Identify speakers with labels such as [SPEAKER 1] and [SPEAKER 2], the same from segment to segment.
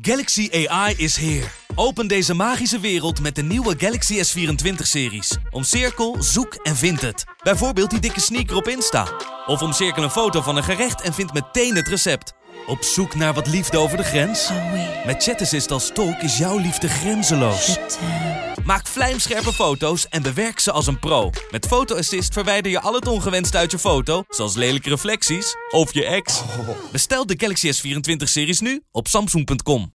[SPEAKER 1] Galaxy AI is here. Open deze magische wereld met de nieuwe Galaxy S24-series. Omcirkel, zoek en vind het. Bijvoorbeeld die dikke sneaker op Insta. Of omcirkel een foto van een gerecht en vind meteen het recept. Op zoek naar wat liefde over de grens? Met Chat Assist als tolk is jouw liefde grenzeloos. Maak vlijmscherpe foto's en bewerk ze als een pro. Met Photo Assist verwijder je al het ongewenst uit je foto, zoals lelijke reflecties of je ex. Bestel de Galaxy S24-series nu op Samsung.com.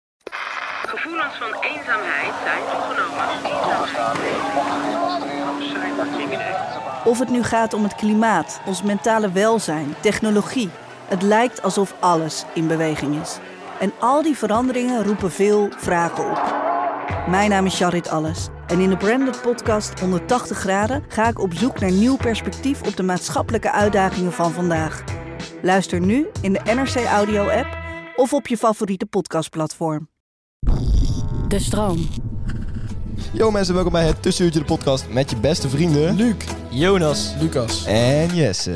[SPEAKER 2] Gevoelens van eenzaamheid zijn toegenomen.
[SPEAKER 3] Of het nu gaat om het klimaat, ons mentale welzijn, technologie. Het lijkt alsof alles in beweging is. En al die veranderingen roepen veel vragen op. Mijn naam is Charit Alles. En in de Branded Podcast 180 graden ga ik op zoek naar nieuw perspectief op de maatschappelijke uitdagingen van vandaag. Luister nu in de NRC Audio app of op je favoriete podcastplatform.
[SPEAKER 4] De stroom.
[SPEAKER 5] Yo mensen, welkom bij het Tussenuurtje de podcast met je beste vrienden... Luc, Jonas
[SPEAKER 6] Lucas.
[SPEAKER 5] en Jesse.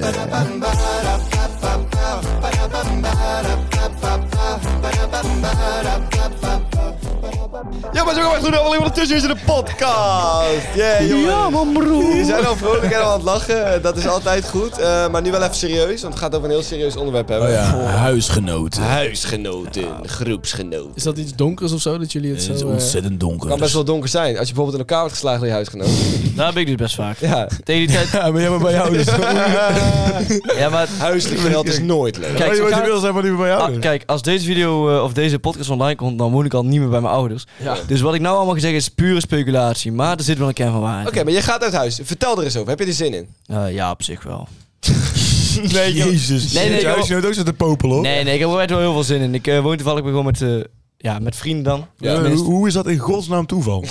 [SPEAKER 5] Yo mensen, welkom bij Groene Alweer van het Tussenuurtje de podcast. Yeah, jongens. Ja man broer. We zijn al vrolijk en al aan het lachen, dat is altijd goed. Eh, maar nu wel even serieus, want het gaat over een heel serieus onderwerp hebben.
[SPEAKER 6] Oh ja, huisgenoten.
[SPEAKER 5] Huisgenoten, groepsgenoten.
[SPEAKER 6] Is dat iets donkers of zo dat jullie het
[SPEAKER 7] Het is
[SPEAKER 6] zo... eh,
[SPEAKER 7] ontzettend donker. dus-
[SPEAKER 5] Het kan best wel donker zijn, als je bijvoorbeeld in elkaar wordt geslagen door je huisgenoot.
[SPEAKER 8] Daar heb ik dus best vaak.
[SPEAKER 5] Ja,
[SPEAKER 8] Tegen die tijd.
[SPEAKER 7] Ja, maar jij bent bij jou dus.
[SPEAKER 8] Ja, maar.
[SPEAKER 5] huiselijk geweld is nooit leuk.
[SPEAKER 8] Kijk,
[SPEAKER 7] je
[SPEAKER 8] zo
[SPEAKER 7] wat je
[SPEAKER 8] gaat-
[SPEAKER 7] wil zijn, maar niet meer bij jou. dus.
[SPEAKER 8] Ah, kijk, als deze video eh, of deze podcast online komt, dan woon ik al niet meer bij mijn ouders. Dus wat ik nou allemaal gezegd is pure speculatie. Maar er zit wel een kern van waarheid.
[SPEAKER 5] Oké, maar je gaat uit huis. Vertel er eens over. Heb je er zin in?
[SPEAKER 8] Eh, ja, op zich wel.
[SPEAKER 7] nee, Jezus.
[SPEAKER 8] Nee, nee,
[SPEAKER 7] je
[SPEAKER 8] ik-
[SPEAKER 7] huisgenoot ook zit te popelen, hoor.
[SPEAKER 8] Nee, nee, ik heb er echt wel heel veel zin in. Ik eh, woon toevallig gewoon met, eh, ja, met vrienden dan.
[SPEAKER 7] Ja, hoe, hoe is dat in godsnaam toeval?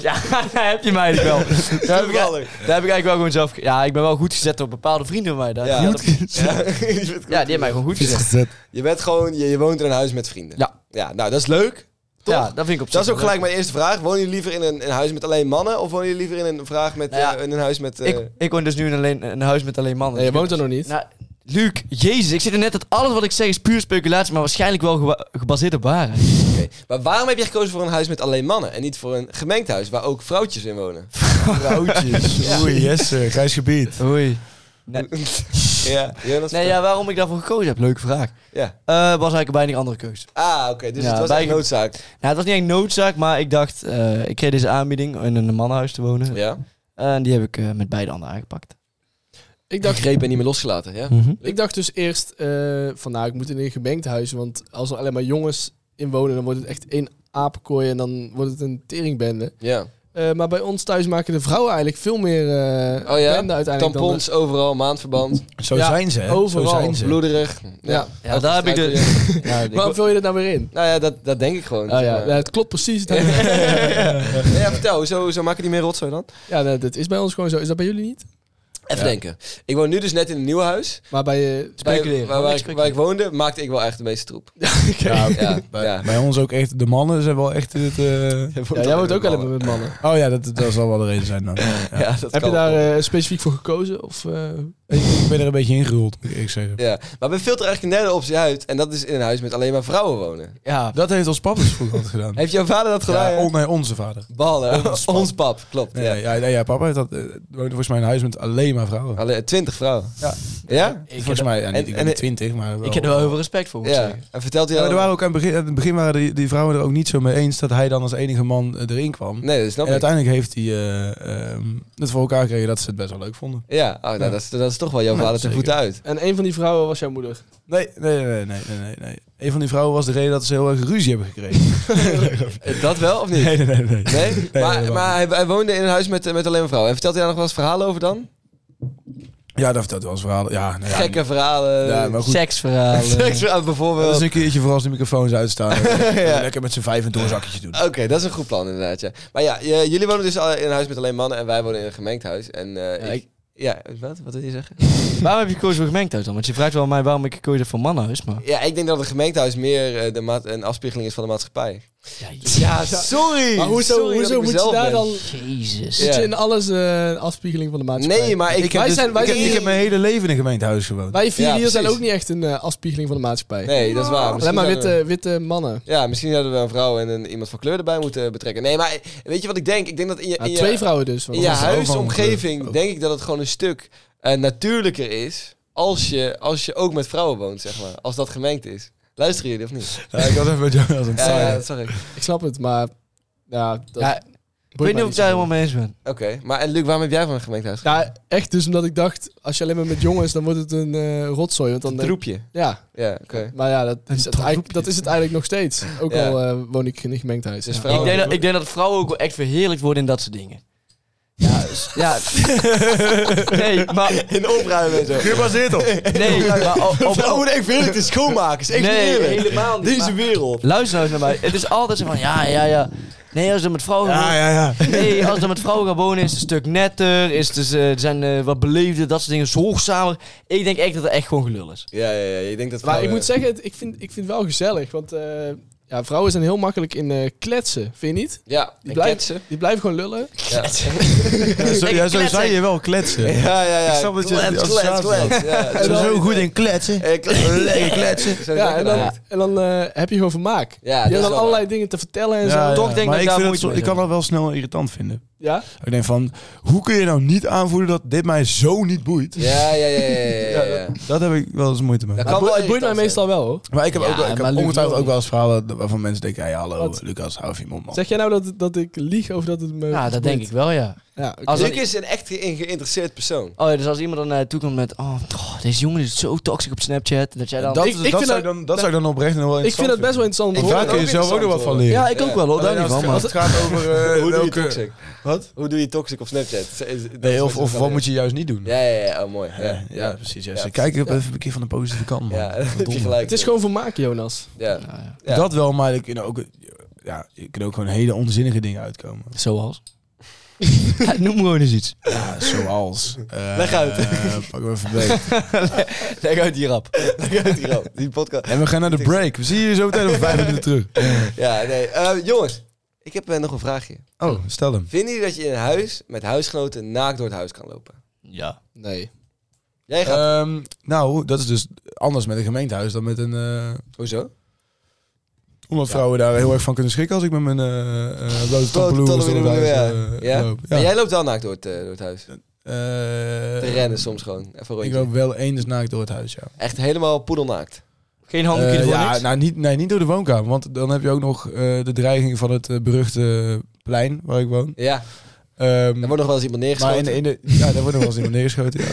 [SPEAKER 8] Ja, daar heb je mij dus wel. Daar heb, ik, daar
[SPEAKER 5] Toevallig.
[SPEAKER 8] heb ik eigenlijk wel gewoon zelf... Ja, ik ben wel goed gezet op bepaalde vrienden van mij. Daar.
[SPEAKER 5] Ja.
[SPEAKER 8] Ja, dat-
[SPEAKER 5] Ja, je, bent,
[SPEAKER 8] ja, die hebben mij gewoon goed gezet.
[SPEAKER 7] Gezet.
[SPEAKER 5] je bent gewoon, je, je woont in een huis met vrienden.
[SPEAKER 8] Ja.
[SPEAKER 5] Ja, nou, dat is leuk. Toch?
[SPEAKER 8] Ja, dat vind ik op zich
[SPEAKER 5] dat is ook
[SPEAKER 8] wel
[SPEAKER 5] gelijk
[SPEAKER 8] leuk.
[SPEAKER 5] mijn eerste vraag. Woon je liever in een, een huis met alleen mannen of woon je liever in een, vraag met,
[SPEAKER 8] Nou ja,
[SPEAKER 5] eh, in een huis met... eh,
[SPEAKER 8] Ik, ik woon dus nu in alleen, een huis met alleen mannen.
[SPEAKER 6] Nee, je woont er nog niet.
[SPEAKER 8] Nou, Luc, jezus, ik zit er net dat alles wat ik zeg is puur speculatie, maar waarschijnlijk wel gewa- gebaseerd op waarheid.
[SPEAKER 5] oké. Maar waarom heb je gekozen voor een huis met alleen mannen en niet voor een gemengd huis waar ook vrouwtjes in wonen?
[SPEAKER 7] Vrouwtjes. Oei, yes, eh, grijs gebied.
[SPEAKER 8] Oei.
[SPEAKER 5] ja, Jonas?
[SPEAKER 8] Nee, ja, waarom ik daarvoor gekozen heb? Leuke vraag.
[SPEAKER 5] Ja.
[SPEAKER 8] Eh, was eigenlijk een weinig andere keuze.
[SPEAKER 5] Ah, oké. dus
[SPEAKER 8] Ja,
[SPEAKER 5] het was
[SPEAKER 8] wij-
[SPEAKER 5] echt noodzaak.
[SPEAKER 8] Nou, het was niet echt noodzaak, maar ik dacht, eh, ik kreeg deze aanbieding om in een mannenhuis te wonen.
[SPEAKER 5] Ja.
[SPEAKER 8] En die heb ik eh, met beide handen aangepakt.
[SPEAKER 6] Ik dacht,
[SPEAKER 5] Grepen niet meer losgelaten, ja?
[SPEAKER 8] Mhm.
[SPEAKER 7] Mhm.
[SPEAKER 6] ik dacht dus eerst eh, van nou, ik moet in een gemengd huis. Want als er alleen maar jongens in wonen, dan wordt het echt één apenkooi en dan wordt het een teringbende.
[SPEAKER 5] Ja. Oh
[SPEAKER 6] Eh, maar bij ons thuis maken de vrouwen eigenlijk veel meer eh
[SPEAKER 5] Oh ja?
[SPEAKER 6] bende uiteindelijk dan
[SPEAKER 5] Tampons overal, maandverband,
[SPEAKER 7] Zo
[SPEAKER 6] Ja,
[SPEAKER 7] zijn ze, hè.
[SPEAKER 6] overal.
[SPEAKER 7] Zo zijn ze.
[SPEAKER 5] bloederig. Ja.
[SPEAKER 8] Ja, daar heb ik de... Ja,
[SPEAKER 6] de- Waarom vul je dat nou weer in?
[SPEAKER 5] Nou ja, dat, dat denk ik gewoon.
[SPEAKER 6] Oh ja, ja, het klopt precies. Dat-
[SPEAKER 5] Ja, ja, vertel, hoezo, zo maken die meer rotzooi dan?
[SPEAKER 6] ja, dat, dat is bij ons gewoon zo. Is dat bij jullie niet?
[SPEAKER 5] Even denken. Ik woon nu dus net in een nieuw huis.
[SPEAKER 6] Maar bij... eh,
[SPEAKER 5] Bij-
[SPEAKER 8] Speculeren.
[SPEAKER 5] Waar, waar,
[SPEAKER 8] Niks
[SPEAKER 5] ik, waar ik woonde, maakte ik wel echt de meeste troep.
[SPEAKER 7] Ja,
[SPEAKER 5] Ja,
[SPEAKER 7] bij,
[SPEAKER 5] ja.
[SPEAKER 7] bij ons ook echt, de mannen zijn wel echt het... eh,
[SPEAKER 6] ja, jij woont ook alleen maar met mannen.
[SPEAKER 7] Oh ja, dat, dat zal wel de reden zijn dan. Ja.
[SPEAKER 5] Ja, dat
[SPEAKER 6] Heb je
[SPEAKER 5] kan
[SPEAKER 6] daar
[SPEAKER 5] wel.
[SPEAKER 6] eh, specifiek voor gekozen? Of, eh,
[SPEAKER 7] Ik, ik ben er een beetje ingerold, moet ik eerlijk zeggen.
[SPEAKER 5] Ja, maar we filteren eigenlijk een derde optie uit. En dat is in een huis met alleen maar vrouwen wonen.
[SPEAKER 8] Ja,
[SPEAKER 7] Dat heeft ons papa dus vroeger altijd gedaan.
[SPEAKER 5] Heeft jouw vader dat gedaan?
[SPEAKER 7] Ja,
[SPEAKER 5] hè?
[SPEAKER 7] on- nee, onze vader.
[SPEAKER 5] Ballen. Ons
[SPEAKER 7] ons
[SPEAKER 5] pap,
[SPEAKER 7] pap.
[SPEAKER 5] klopt.
[SPEAKER 7] Nee,
[SPEAKER 5] ja.
[SPEAKER 7] ja. Ja, ja, papa heeft dat, eh, woonde volgens mij in een huis met alleen maar vrouwen.
[SPEAKER 5] Alle, eh, twintig vrouwen.
[SPEAKER 7] Ja.
[SPEAKER 5] Ja?
[SPEAKER 7] volgens mij, ja, niet,
[SPEAKER 5] en-
[SPEAKER 7] ik
[SPEAKER 5] en-
[SPEAKER 7] ben niet twintig, maar wel.
[SPEAKER 8] ik heb er wel heel veel respect voor, moet ik
[SPEAKER 5] Ja.
[SPEAKER 8] zeggen.
[SPEAKER 5] En vertelt hij
[SPEAKER 7] Ja, maar
[SPEAKER 5] dan...
[SPEAKER 7] er waren ook aan het begin, aan het begin waren die, die vrouwen er ook niet zo mee eens dat hij dan als enige man eh, erin kwam.
[SPEAKER 5] Nee, dat snap
[SPEAKER 7] en
[SPEAKER 5] ik.
[SPEAKER 7] uiteindelijk heeft hij eh, ehm, het voor elkaar gekregen dat ze het best wel leuk vonden.
[SPEAKER 5] Ja, oh, nou,
[SPEAKER 7] Ja.
[SPEAKER 5] Dat, is, dat is toch wel jouw
[SPEAKER 7] Nou,
[SPEAKER 5] vader te
[SPEAKER 7] zeker.
[SPEAKER 5] voet uit.
[SPEAKER 6] en een van die vrouwen was jouw moeder.
[SPEAKER 7] Nee, nee, nee, nee, nee, nee, nee. Een van die vrouwen was de reden dat ze heel erg ruzie hebben gekregen.
[SPEAKER 5] Eh, Dat wel of niet?
[SPEAKER 7] nee, nee, nee. nee.
[SPEAKER 5] Nee? maar
[SPEAKER 7] dat mag
[SPEAKER 5] maar hij, hij woonde in een huis met, eh, met alleen maar vrouwen. En vertelt hij daar nog wel eens verhalen over dan?
[SPEAKER 7] Ja, dat vertelt wel eens verhalen. Ja, nou ja,
[SPEAKER 5] Gekke verhalen.
[SPEAKER 7] Ja, maar goed.
[SPEAKER 8] Seksverhalen.
[SPEAKER 5] Seksverhalen
[SPEAKER 7] Dat
[SPEAKER 5] bijvoorbeeld.
[SPEAKER 7] is een keertje voor als de microfoons uitstaan.
[SPEAKER 5] Ja. Eh,
[SPEAKER 7] Lekker met z'n vijf een doorzakje doen.
[SPEAKER 5] Oké, dat is een goed plan inderdaad, ja. Maar ja, je- jullie wonen dus al in een huis met alleen mannen en wij wonen in een gemengd huis. En eh,
[SPEAKER 8] Ja,
[SPEAKER 5] ik...
[SPEAKER 8] ik-
[SPEAKER 5] Ja, wat? Wat wil je zeggen?
[SPEAKER 8] Waarom heb je gekozen voor gemengdhuis dan? Want je vraagt wel aan mij waarom ik gekozen heb voor mannenhuis, maar...
[SPEAKER 5] Ja, ik denk dat het gemeentehuis meer eh, de maat- een afspiegeling is van de maatschappij.
[SPEAKER 6] Ja,
[SPEAKER 5] Sorry!
[SPEAKER 6] Maar hoezo,
[SPEAKER 5] Sorry dat
[SPEAKER 6] hoezo
[SPEAKER 5] ik
[SPEAKER 6] moet je
[SPEAKER 5] mezelf
[SPEAKER 6] daar
[SPEAKER 5] ben.
[SPEAKER 6] dan...
[SPEAKER 8] Jezus.
[SPEAKER 6] Zit
[SPEAKER 5] Ja.
[SPEAKER 6] je in alles eh, een afspiegeling van de maatschappij?
[SPEAKER 5] Nee, maar ik...
[SPEAKER 7] Ik heb,
[SPEAKER 6] Wij
[SPEAKER 7] dus-
[SPEAKER 6] zijn- wij
[SPEAKER 7] ik, heb-
[SPEAKER 6] zijn-
[SPEAKER 7] ik heb mijn hele leven in een gemeentehuis gewoond.
[SPEAKER 6] Wij vier
[SPEAKER 5] Ja,
[SPEAKER 6] hier zijn
[SPEAKER 5] precies.
[SPEAKER 6] ook niet echt een eh, afspiegeling van de maatschappij.
[SPEAKER 5] Nee, dat is waar.
[SPEAKER 6] Alleen
[SPEAKER 5] Misschien
[SPEAKER 6] maar
[SPEAKER 5] zouden we-
[SPEAKER 6] witte, witte mannen.
[SPEAKER 5] Ja, misschien hadden we een vrouw en een, iemand van kleur erbij moeten betrekken. Nee, maar weet je wat ik denk? Ik denk dat in je,
[SPEAKER 6] Ja,
[SPEAKER 5] in je,
[SPEAKER 6] twee vrouwen dus.
[SPEAKER 5] in
[SPEAKER 6] want
[SPEAKER 5] je
[SPEAKER 6] dat is-
[SPEAKER 7] overal
[SPEAKER 5] huisomgeving
[SPEAKER 7] kleur.
[SPEAKER 5] denk ik dat het gewoon een stuk eh, natuurlijker is als je, als je ook met vrouwen woont, zeg maar. Als dat gemengd is. Luisteren jullie of niet?
[SPEAKER 7] Ja, ik had even met jou aan het
[SPEAKER 5] Ja,
[SPEAKER 7] zeggen.
[SPEAKER 5] ja, dat zag ik.
[SPEAKER 6] Ik snap het, maar... Ja, dat
[SPEAKER 8] Ja,
[SPEAKER 6] boeit
[SPEAKER 8] Ik
[SPEAKER 6] mij
[SPEAKER 8] weet niet of ik
[SPEAKER 6] niet
[SPEAKER 8] daar
[SPEAKER 6] zo.
[SPEAKER 8] helemaal mee eens ben.
[SPEAKER 5] Oké, maar en Luc, waarom heb jij van een gemengd huis?
[SPEAKER 6] Ja, echt dus omdat ik dacht, als je alleen maar met jongens, dan wordt het een eh, rotzooi. Want dan
[SPEAKER 5] Een troepje.
[SPEAKER 6] Ja,
[SPEAKER 5] Ja, oké.
[SPEAKER 6] maar ja, dat is, het eigenlijk, dat is het eigenlijk nog steeds. Ook
[SPEAKER 5] Ja.
[SPEAKER 6] al eh, woon ik in een gemengd huis.
[SPEAKER 5] Dus
[SPEAKER 6] Ja.
[SPEAKER 5] vrouwen-
[SPEAKER 8] Ik denk, dat, ik denk dat vrouwen ook wel echt verheerlijkt worden in dat soort dingen. Ja, dus- ja. Nee, maar...
[SPEAKER 5] In opruimen en zo.
[SPEAKER 7] Gebaseerd op.
[SPEAKER 8] Nee, maar... o- o-
[SPEAKER 5] Vrouwen worden echt heerlijk te schoonmakers. Echt
[SPEAKER 8] Nee,
[SPEAKER 5] heerlijk.
[SPEAKER 8] helemaal niet,
[SPEAKER 5] Deze
[SPEAKER 8] maar-
[SPEAKER 5] wereld.
[SPEAKER 8] Luister nou eens naar mij. Het is altijd zo van, ja, ja, ja. Nee, als er met vrouwen...
[SPEAKER 7] Ja, ja, ja.
[SPEAKER 8] Nee, als er met vrouwen gaan wonen is het een stuk netter, is het dus, eh, zijn eh, wat beleefder, dat soort dingen, zorgzamer. Ik denk echt dat het echt gewoon gelul is.
[SPEAKER 5] Ja, ja, ja. Je denkt dat
[SPEAKER 6] Maar ik
[SPEAKER 5] vrouwen-
[SPEAKER 6] moet zeggen, het- ik vind, ik vind het wel gezellig. Want eh, ja, vrouwen zijn heel makkelijk in eh, kletsen, vind je niet?
[SPEAKER 5] Ja,
[SPEAKER 6] Die
[SPEAKER 5] en
[SPEAKER 6] blijven-
[SPEAKER 5] ketsen.
[SPEAKER 6] Die blijven gewoon lullen.
[SPEAKER 5] Ja.
[SPEAKER 7] Ja, zo, ja, zo zei je wel kletsen.
[SPEAKER 5] Ja, ja, ja.
[SPEAKER 7] Ik snap dat je die associatie had.
[SPEAKER 5] Ja,
[SPEAKER 7] Ze zijn zo goed in kletsen.
[SPEAKER 5] Lekker kletsen. Zo
[SPEAKER 6] Ja, en dan,
[SPEAKER 5] ja.
[SPEAKER 6] en dan eh, heb je gewoon vermaak.
[SPEAKER 5] Ja,
[SPEAKER 6] je
[SPEAKER 5] dat
[SPEAKER 6] hebt
[SPEAKER 5] is
[SPEAKER 6] dan
[SPEAKER 5] wel
[SPEAKER 6] allerlei dingen te vertellen en zo.
[SPEAKER 8] Toch denk ik
[SPEAKER 7] maar
[SPEAKER 8] dat
[SPEAKER 7] ik,
[SPEAKER 8] daar
[SPEAKER 7] vind
[SPEAKER 8] moeite
[SPEAKER 7] zo-
[SPEAKER 8] mee
[SPEAKER 7] ik kan
[SPEAKER 8] zijn.
[SPEAKER 7] dat wel snel irritant vinden.
[SPEAKER 6] Ja?
[SPEAKER 7] Ik denk van, hoe kun je nou niet aanvoelen dat dit mij zo niet boeit?
[SPEAKER 5] Ja, ja, ja, ja, ja, ja, ja.
[SPEAKER 7] Dat heb ik wel eens moeite mee.
[SPEAKER 5] Dat
[SPEAKER 6] Maar
[SPEAKER 5] kan
[SPEAKER 6] het boe-
[SPEAKER 5] wel
[SPEAKER 6] het boeit mij
[SPEAKER 5] irritant zijn.
[SPEAKER 6] meestal wel hoor.
[SPEAKER 7] Maar ik heb,
[SPEAKER 8] Ja,
[SPEAKER 7] ook, wel- ik
[SPEAKER 8] maar
[SPEAKER 7] heb
[SPEAKER 8] Luc
[SPEAKER 7] ongetwijfeld
[SPEAKER 8] wil
[SPEAKER 7] ook wel eens verhalen waarvan mensen denken, hey, hallo
[SPEAKER 6] Wat?
[SPEAKER 7] Lucas, hou even je mond man.
[SPEAKER 6] Zeg jij nou dat, dat ik lieg of dat het me...
[SPEAKER 8] Ja, dat denk ik wel, ja.
[SPEAKER 6] Ja, oké.
[SPEAKER 8] Als-
[SPEAKER 5] Luc is een echt ge- een geïnteresseerd persoon.
[SPEAKER 8] Oh ja, dus als iemand dan naartoe komt met, oh, oh, deze jongen is zo toxisch op Snapchat, dat jij dan...
[SPEAKER 7] Dat, dat,
[SPEAKER 6] ik vind
[SPEAKER 7] zou,
[SPEAKER 6] dat-
[SPEAKER 7] ik dan, dat zou ik dan oprecht nog wel
[SPEAKER 6] ik vind
[SPEAKER 7] interessant
[SPEAKER 6] het best wel interessant. om te
[SPEAKER 5] Ik
[SPEAKER 6] horen.
[SPEAKER 7] Daar kun je
[SPEAKER 5] ook
[SPEAKER 7] zelf ook nog wat
[SPEAKER 5] interessant
[SPEAKER 7] van
[SPEAKER 5] worden.
[SPEAKER 7] leren.
[SPEAKER 8] ja, ik ook wel hoor, daar niet
[SPEAKER 7] Alleen
[SPEAKER 8] van,
[SPEAKER 7] Oh, als
[SPEAKER 8] maar...
[SPEAKER 7] het gaat over... eh,
[SPEAKER 5] Hoe doe je
[SPEAKER 7] welke-
[SPEAKER 5] toxic?
[SPEAKER 7] Wat?
[SPEAKER 5] Hoe doe je toxic op Snapchat? Z- is- dat is
[SPEAKER 7] Nee, of,
[SPEAKER 5] wat
[SPEAKER 7] of
[SPEAKER 5] ze
[SPEAKER 7] wat
[SPEAKER 5] van-
[SPEAKER 7] moet je juist niet doen?
[SPEAKER 5] Ja, ja, ja. Oh, mooi. Ja,
[SPEAKER 7] Ja,
[SPEAKER 5] ja.
[SPEAKER 7] ja, precies. Ja.
[SPEAKER 5] Ja,
[SPEAKER 7] Ze kijken op even een keer van de positieve kant, man.
[SPEAKER 5] Ja, dat heb je
[SPEAKER 7] Verdomme.
[SPEAKER 5] gelijk.
[SPEAKER 6] Het is gewoon vermaak, Jonas.
[SPEAKER 5] Ja. Ja.
[SPEAKER 7] Dat wel, maar ik ook, ja, je kunt ook gewoon hele onzinnige dingen uitkomen.
[SPEAKER 8] Zoals? Ja, noem gewoon eens iets.
[SPEAKER 7] Ja, zoals... eh,
[SPEAKER 5] Leg uit.
[SPEAKER 7] eh, pak hem even break.
[SPEAKER 5] Leg uit die rap. Leg uit die rap. Die podcast.
[SPEAKER 7] En we gaan naar de break. We zien jullie zo meteen over vijf minuten terug.
[SPEAKER 5] Ja, nee. Eh, jongens, ik heb eh, nog een vraagje.
[SPEAKER 7] Oh, stel hem.
[SPEAKER 5] Vinden jullie dat je in een huis met huisgenoten naakt door het huis kan lopen?
[SPEAKER 8] Ja.
[SPEAKER 6] Nee.
[SPEAKER 5] Jij gaat...
[SPEAKER 7] Ehm, nou, dat is dus anders met een gemeentehuis dan met een... eh,
[SPEAKER 5] Hoezo?
[SPEAKER 7] omdat vrouwen daar heel erg van kunnen schrikken als ik met mijn eh eh blote tampeloers door het
[SPEAKER 5] ja.
[SPEAKER 7] huis
[SPEAKER 5] Ja?
[SPEAKER 7] eh, loop.
[SPEAKER 5] Maar
[SPEAKER 7] Ja.
[SPEAKER 5] jij loopt wel naakt door het, eh, door het huis. Te
[SPEAKER 7] Eh,
[SPEAKER 5] rennen soms gewoon. Even een rondje.
[SPEAKER 7] Ik loop wel eens naakt door het huis, ja.
[SPEAKER 5] Echt helemaal poedelnaakt.
[SPEAKER 8] Geen handdoekje
[SPEAKER 7] Eh,
[SPEAKER 8] ervoor,
[SPEAKER 7] ja,
[SPEAKER 8] niks?
[SPEAKER 7] nou, niet, nee, niet door de woonkamer. Want dan heb je ook nog eh, de dreiging van het eh, beruchte plein waar ik woon.
[SPEAKER 5] Ja,
[SPEAKER 7] Ehm,
[SPEAKER 5] daar wordt nog wel eens iemand
[SPEAKER 7] maar in
[SPEAKER 5] neergeschoten.
[SPEAKER 7] de, in de, ja, daar wordt nog wel eens iemand neergeschoten, ja.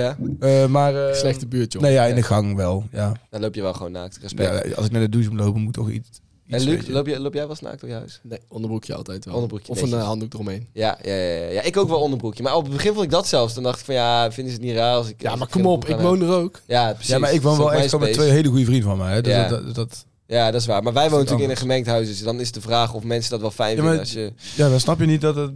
[SPEAKER 5] Ja,
[SPEAKER 7] Eh, maar... eh,
[SPEAKER 6] Slechte buurt, joh.
[SPEAKER 7] Nee, ja, in de gang wel, ja.
[SPEAKER 5] dan loop je wel gewoon naakt. Respect.
[SPEAKER 7] Ja, als ik naar de douche moet lopen, moet ik toch iets.
[SPEAKER 5] en
[SPEAKER 7] iets
[SPEAKER 5] Luc,
[SPEAKER 7] weten.
[SPEAKER 5] loop, je, loop jij wel eens naakt door je huis?
[SPEAKER 6] Nee, onderbroekje altijd wel.
[SPEAKER 5] Onderbroekje,
[SPEAKER 6] of een
[SPEAKER 5] netjes.
[SPEAKER 6] eh, handdoek eromheen.
[SPEAKER 5] Ja, ja, ja, ja, ja, ik ook wel onderbroekje. Maar op het begin vond ik dat zelfs. Dan dacht ik van ja, vinden ze het niet raar als ik...
[SPEAKER 6] Ja,
[SPEAKER 5] als
[SPEAKER 6] maar
[SPEAKER 5] geen
[SPEAKER 6] kom op,
[SPEAKER 5] broek
[SPEAKER 6] ik
[SPEAKER 5] aan
[SPEAKER 6] woon er ook.
[SPEAKER 5] heb? Ja, precies.
[SPEAKER 7] ja, maar ik woon
[SPEAKER 5] Dat is
[SPEAKER 7] wel
[SPEAKER 5] ook
[SPEAKER 7] echt gewoon
[SPEAKER 5] mijn
[SPEAKER 7] met twee
[SPEAKER 5] space.
[SPEAKER 7] hele goede vrienden van mij. Hè? Dus
[SPEAKER 5] Ja.
[SPEAKER 7] dat, dat, dat-
[SPEAKER 5] Ja, dat is waar. Maar wij wonen
[SPEAKER 7] Dat is
[SPEAKER 5] natuurlijk in een gemengd huis. Dus dan is de vraag of mensen dat wel fijn
[SPEAKER 7] Ja,
[SPEAKER 5] vinden
[SPEAKER 7] maar-
[SPEAKER 5] als je...
[SPEAKER 7] ja, dan snap je niet dat, het,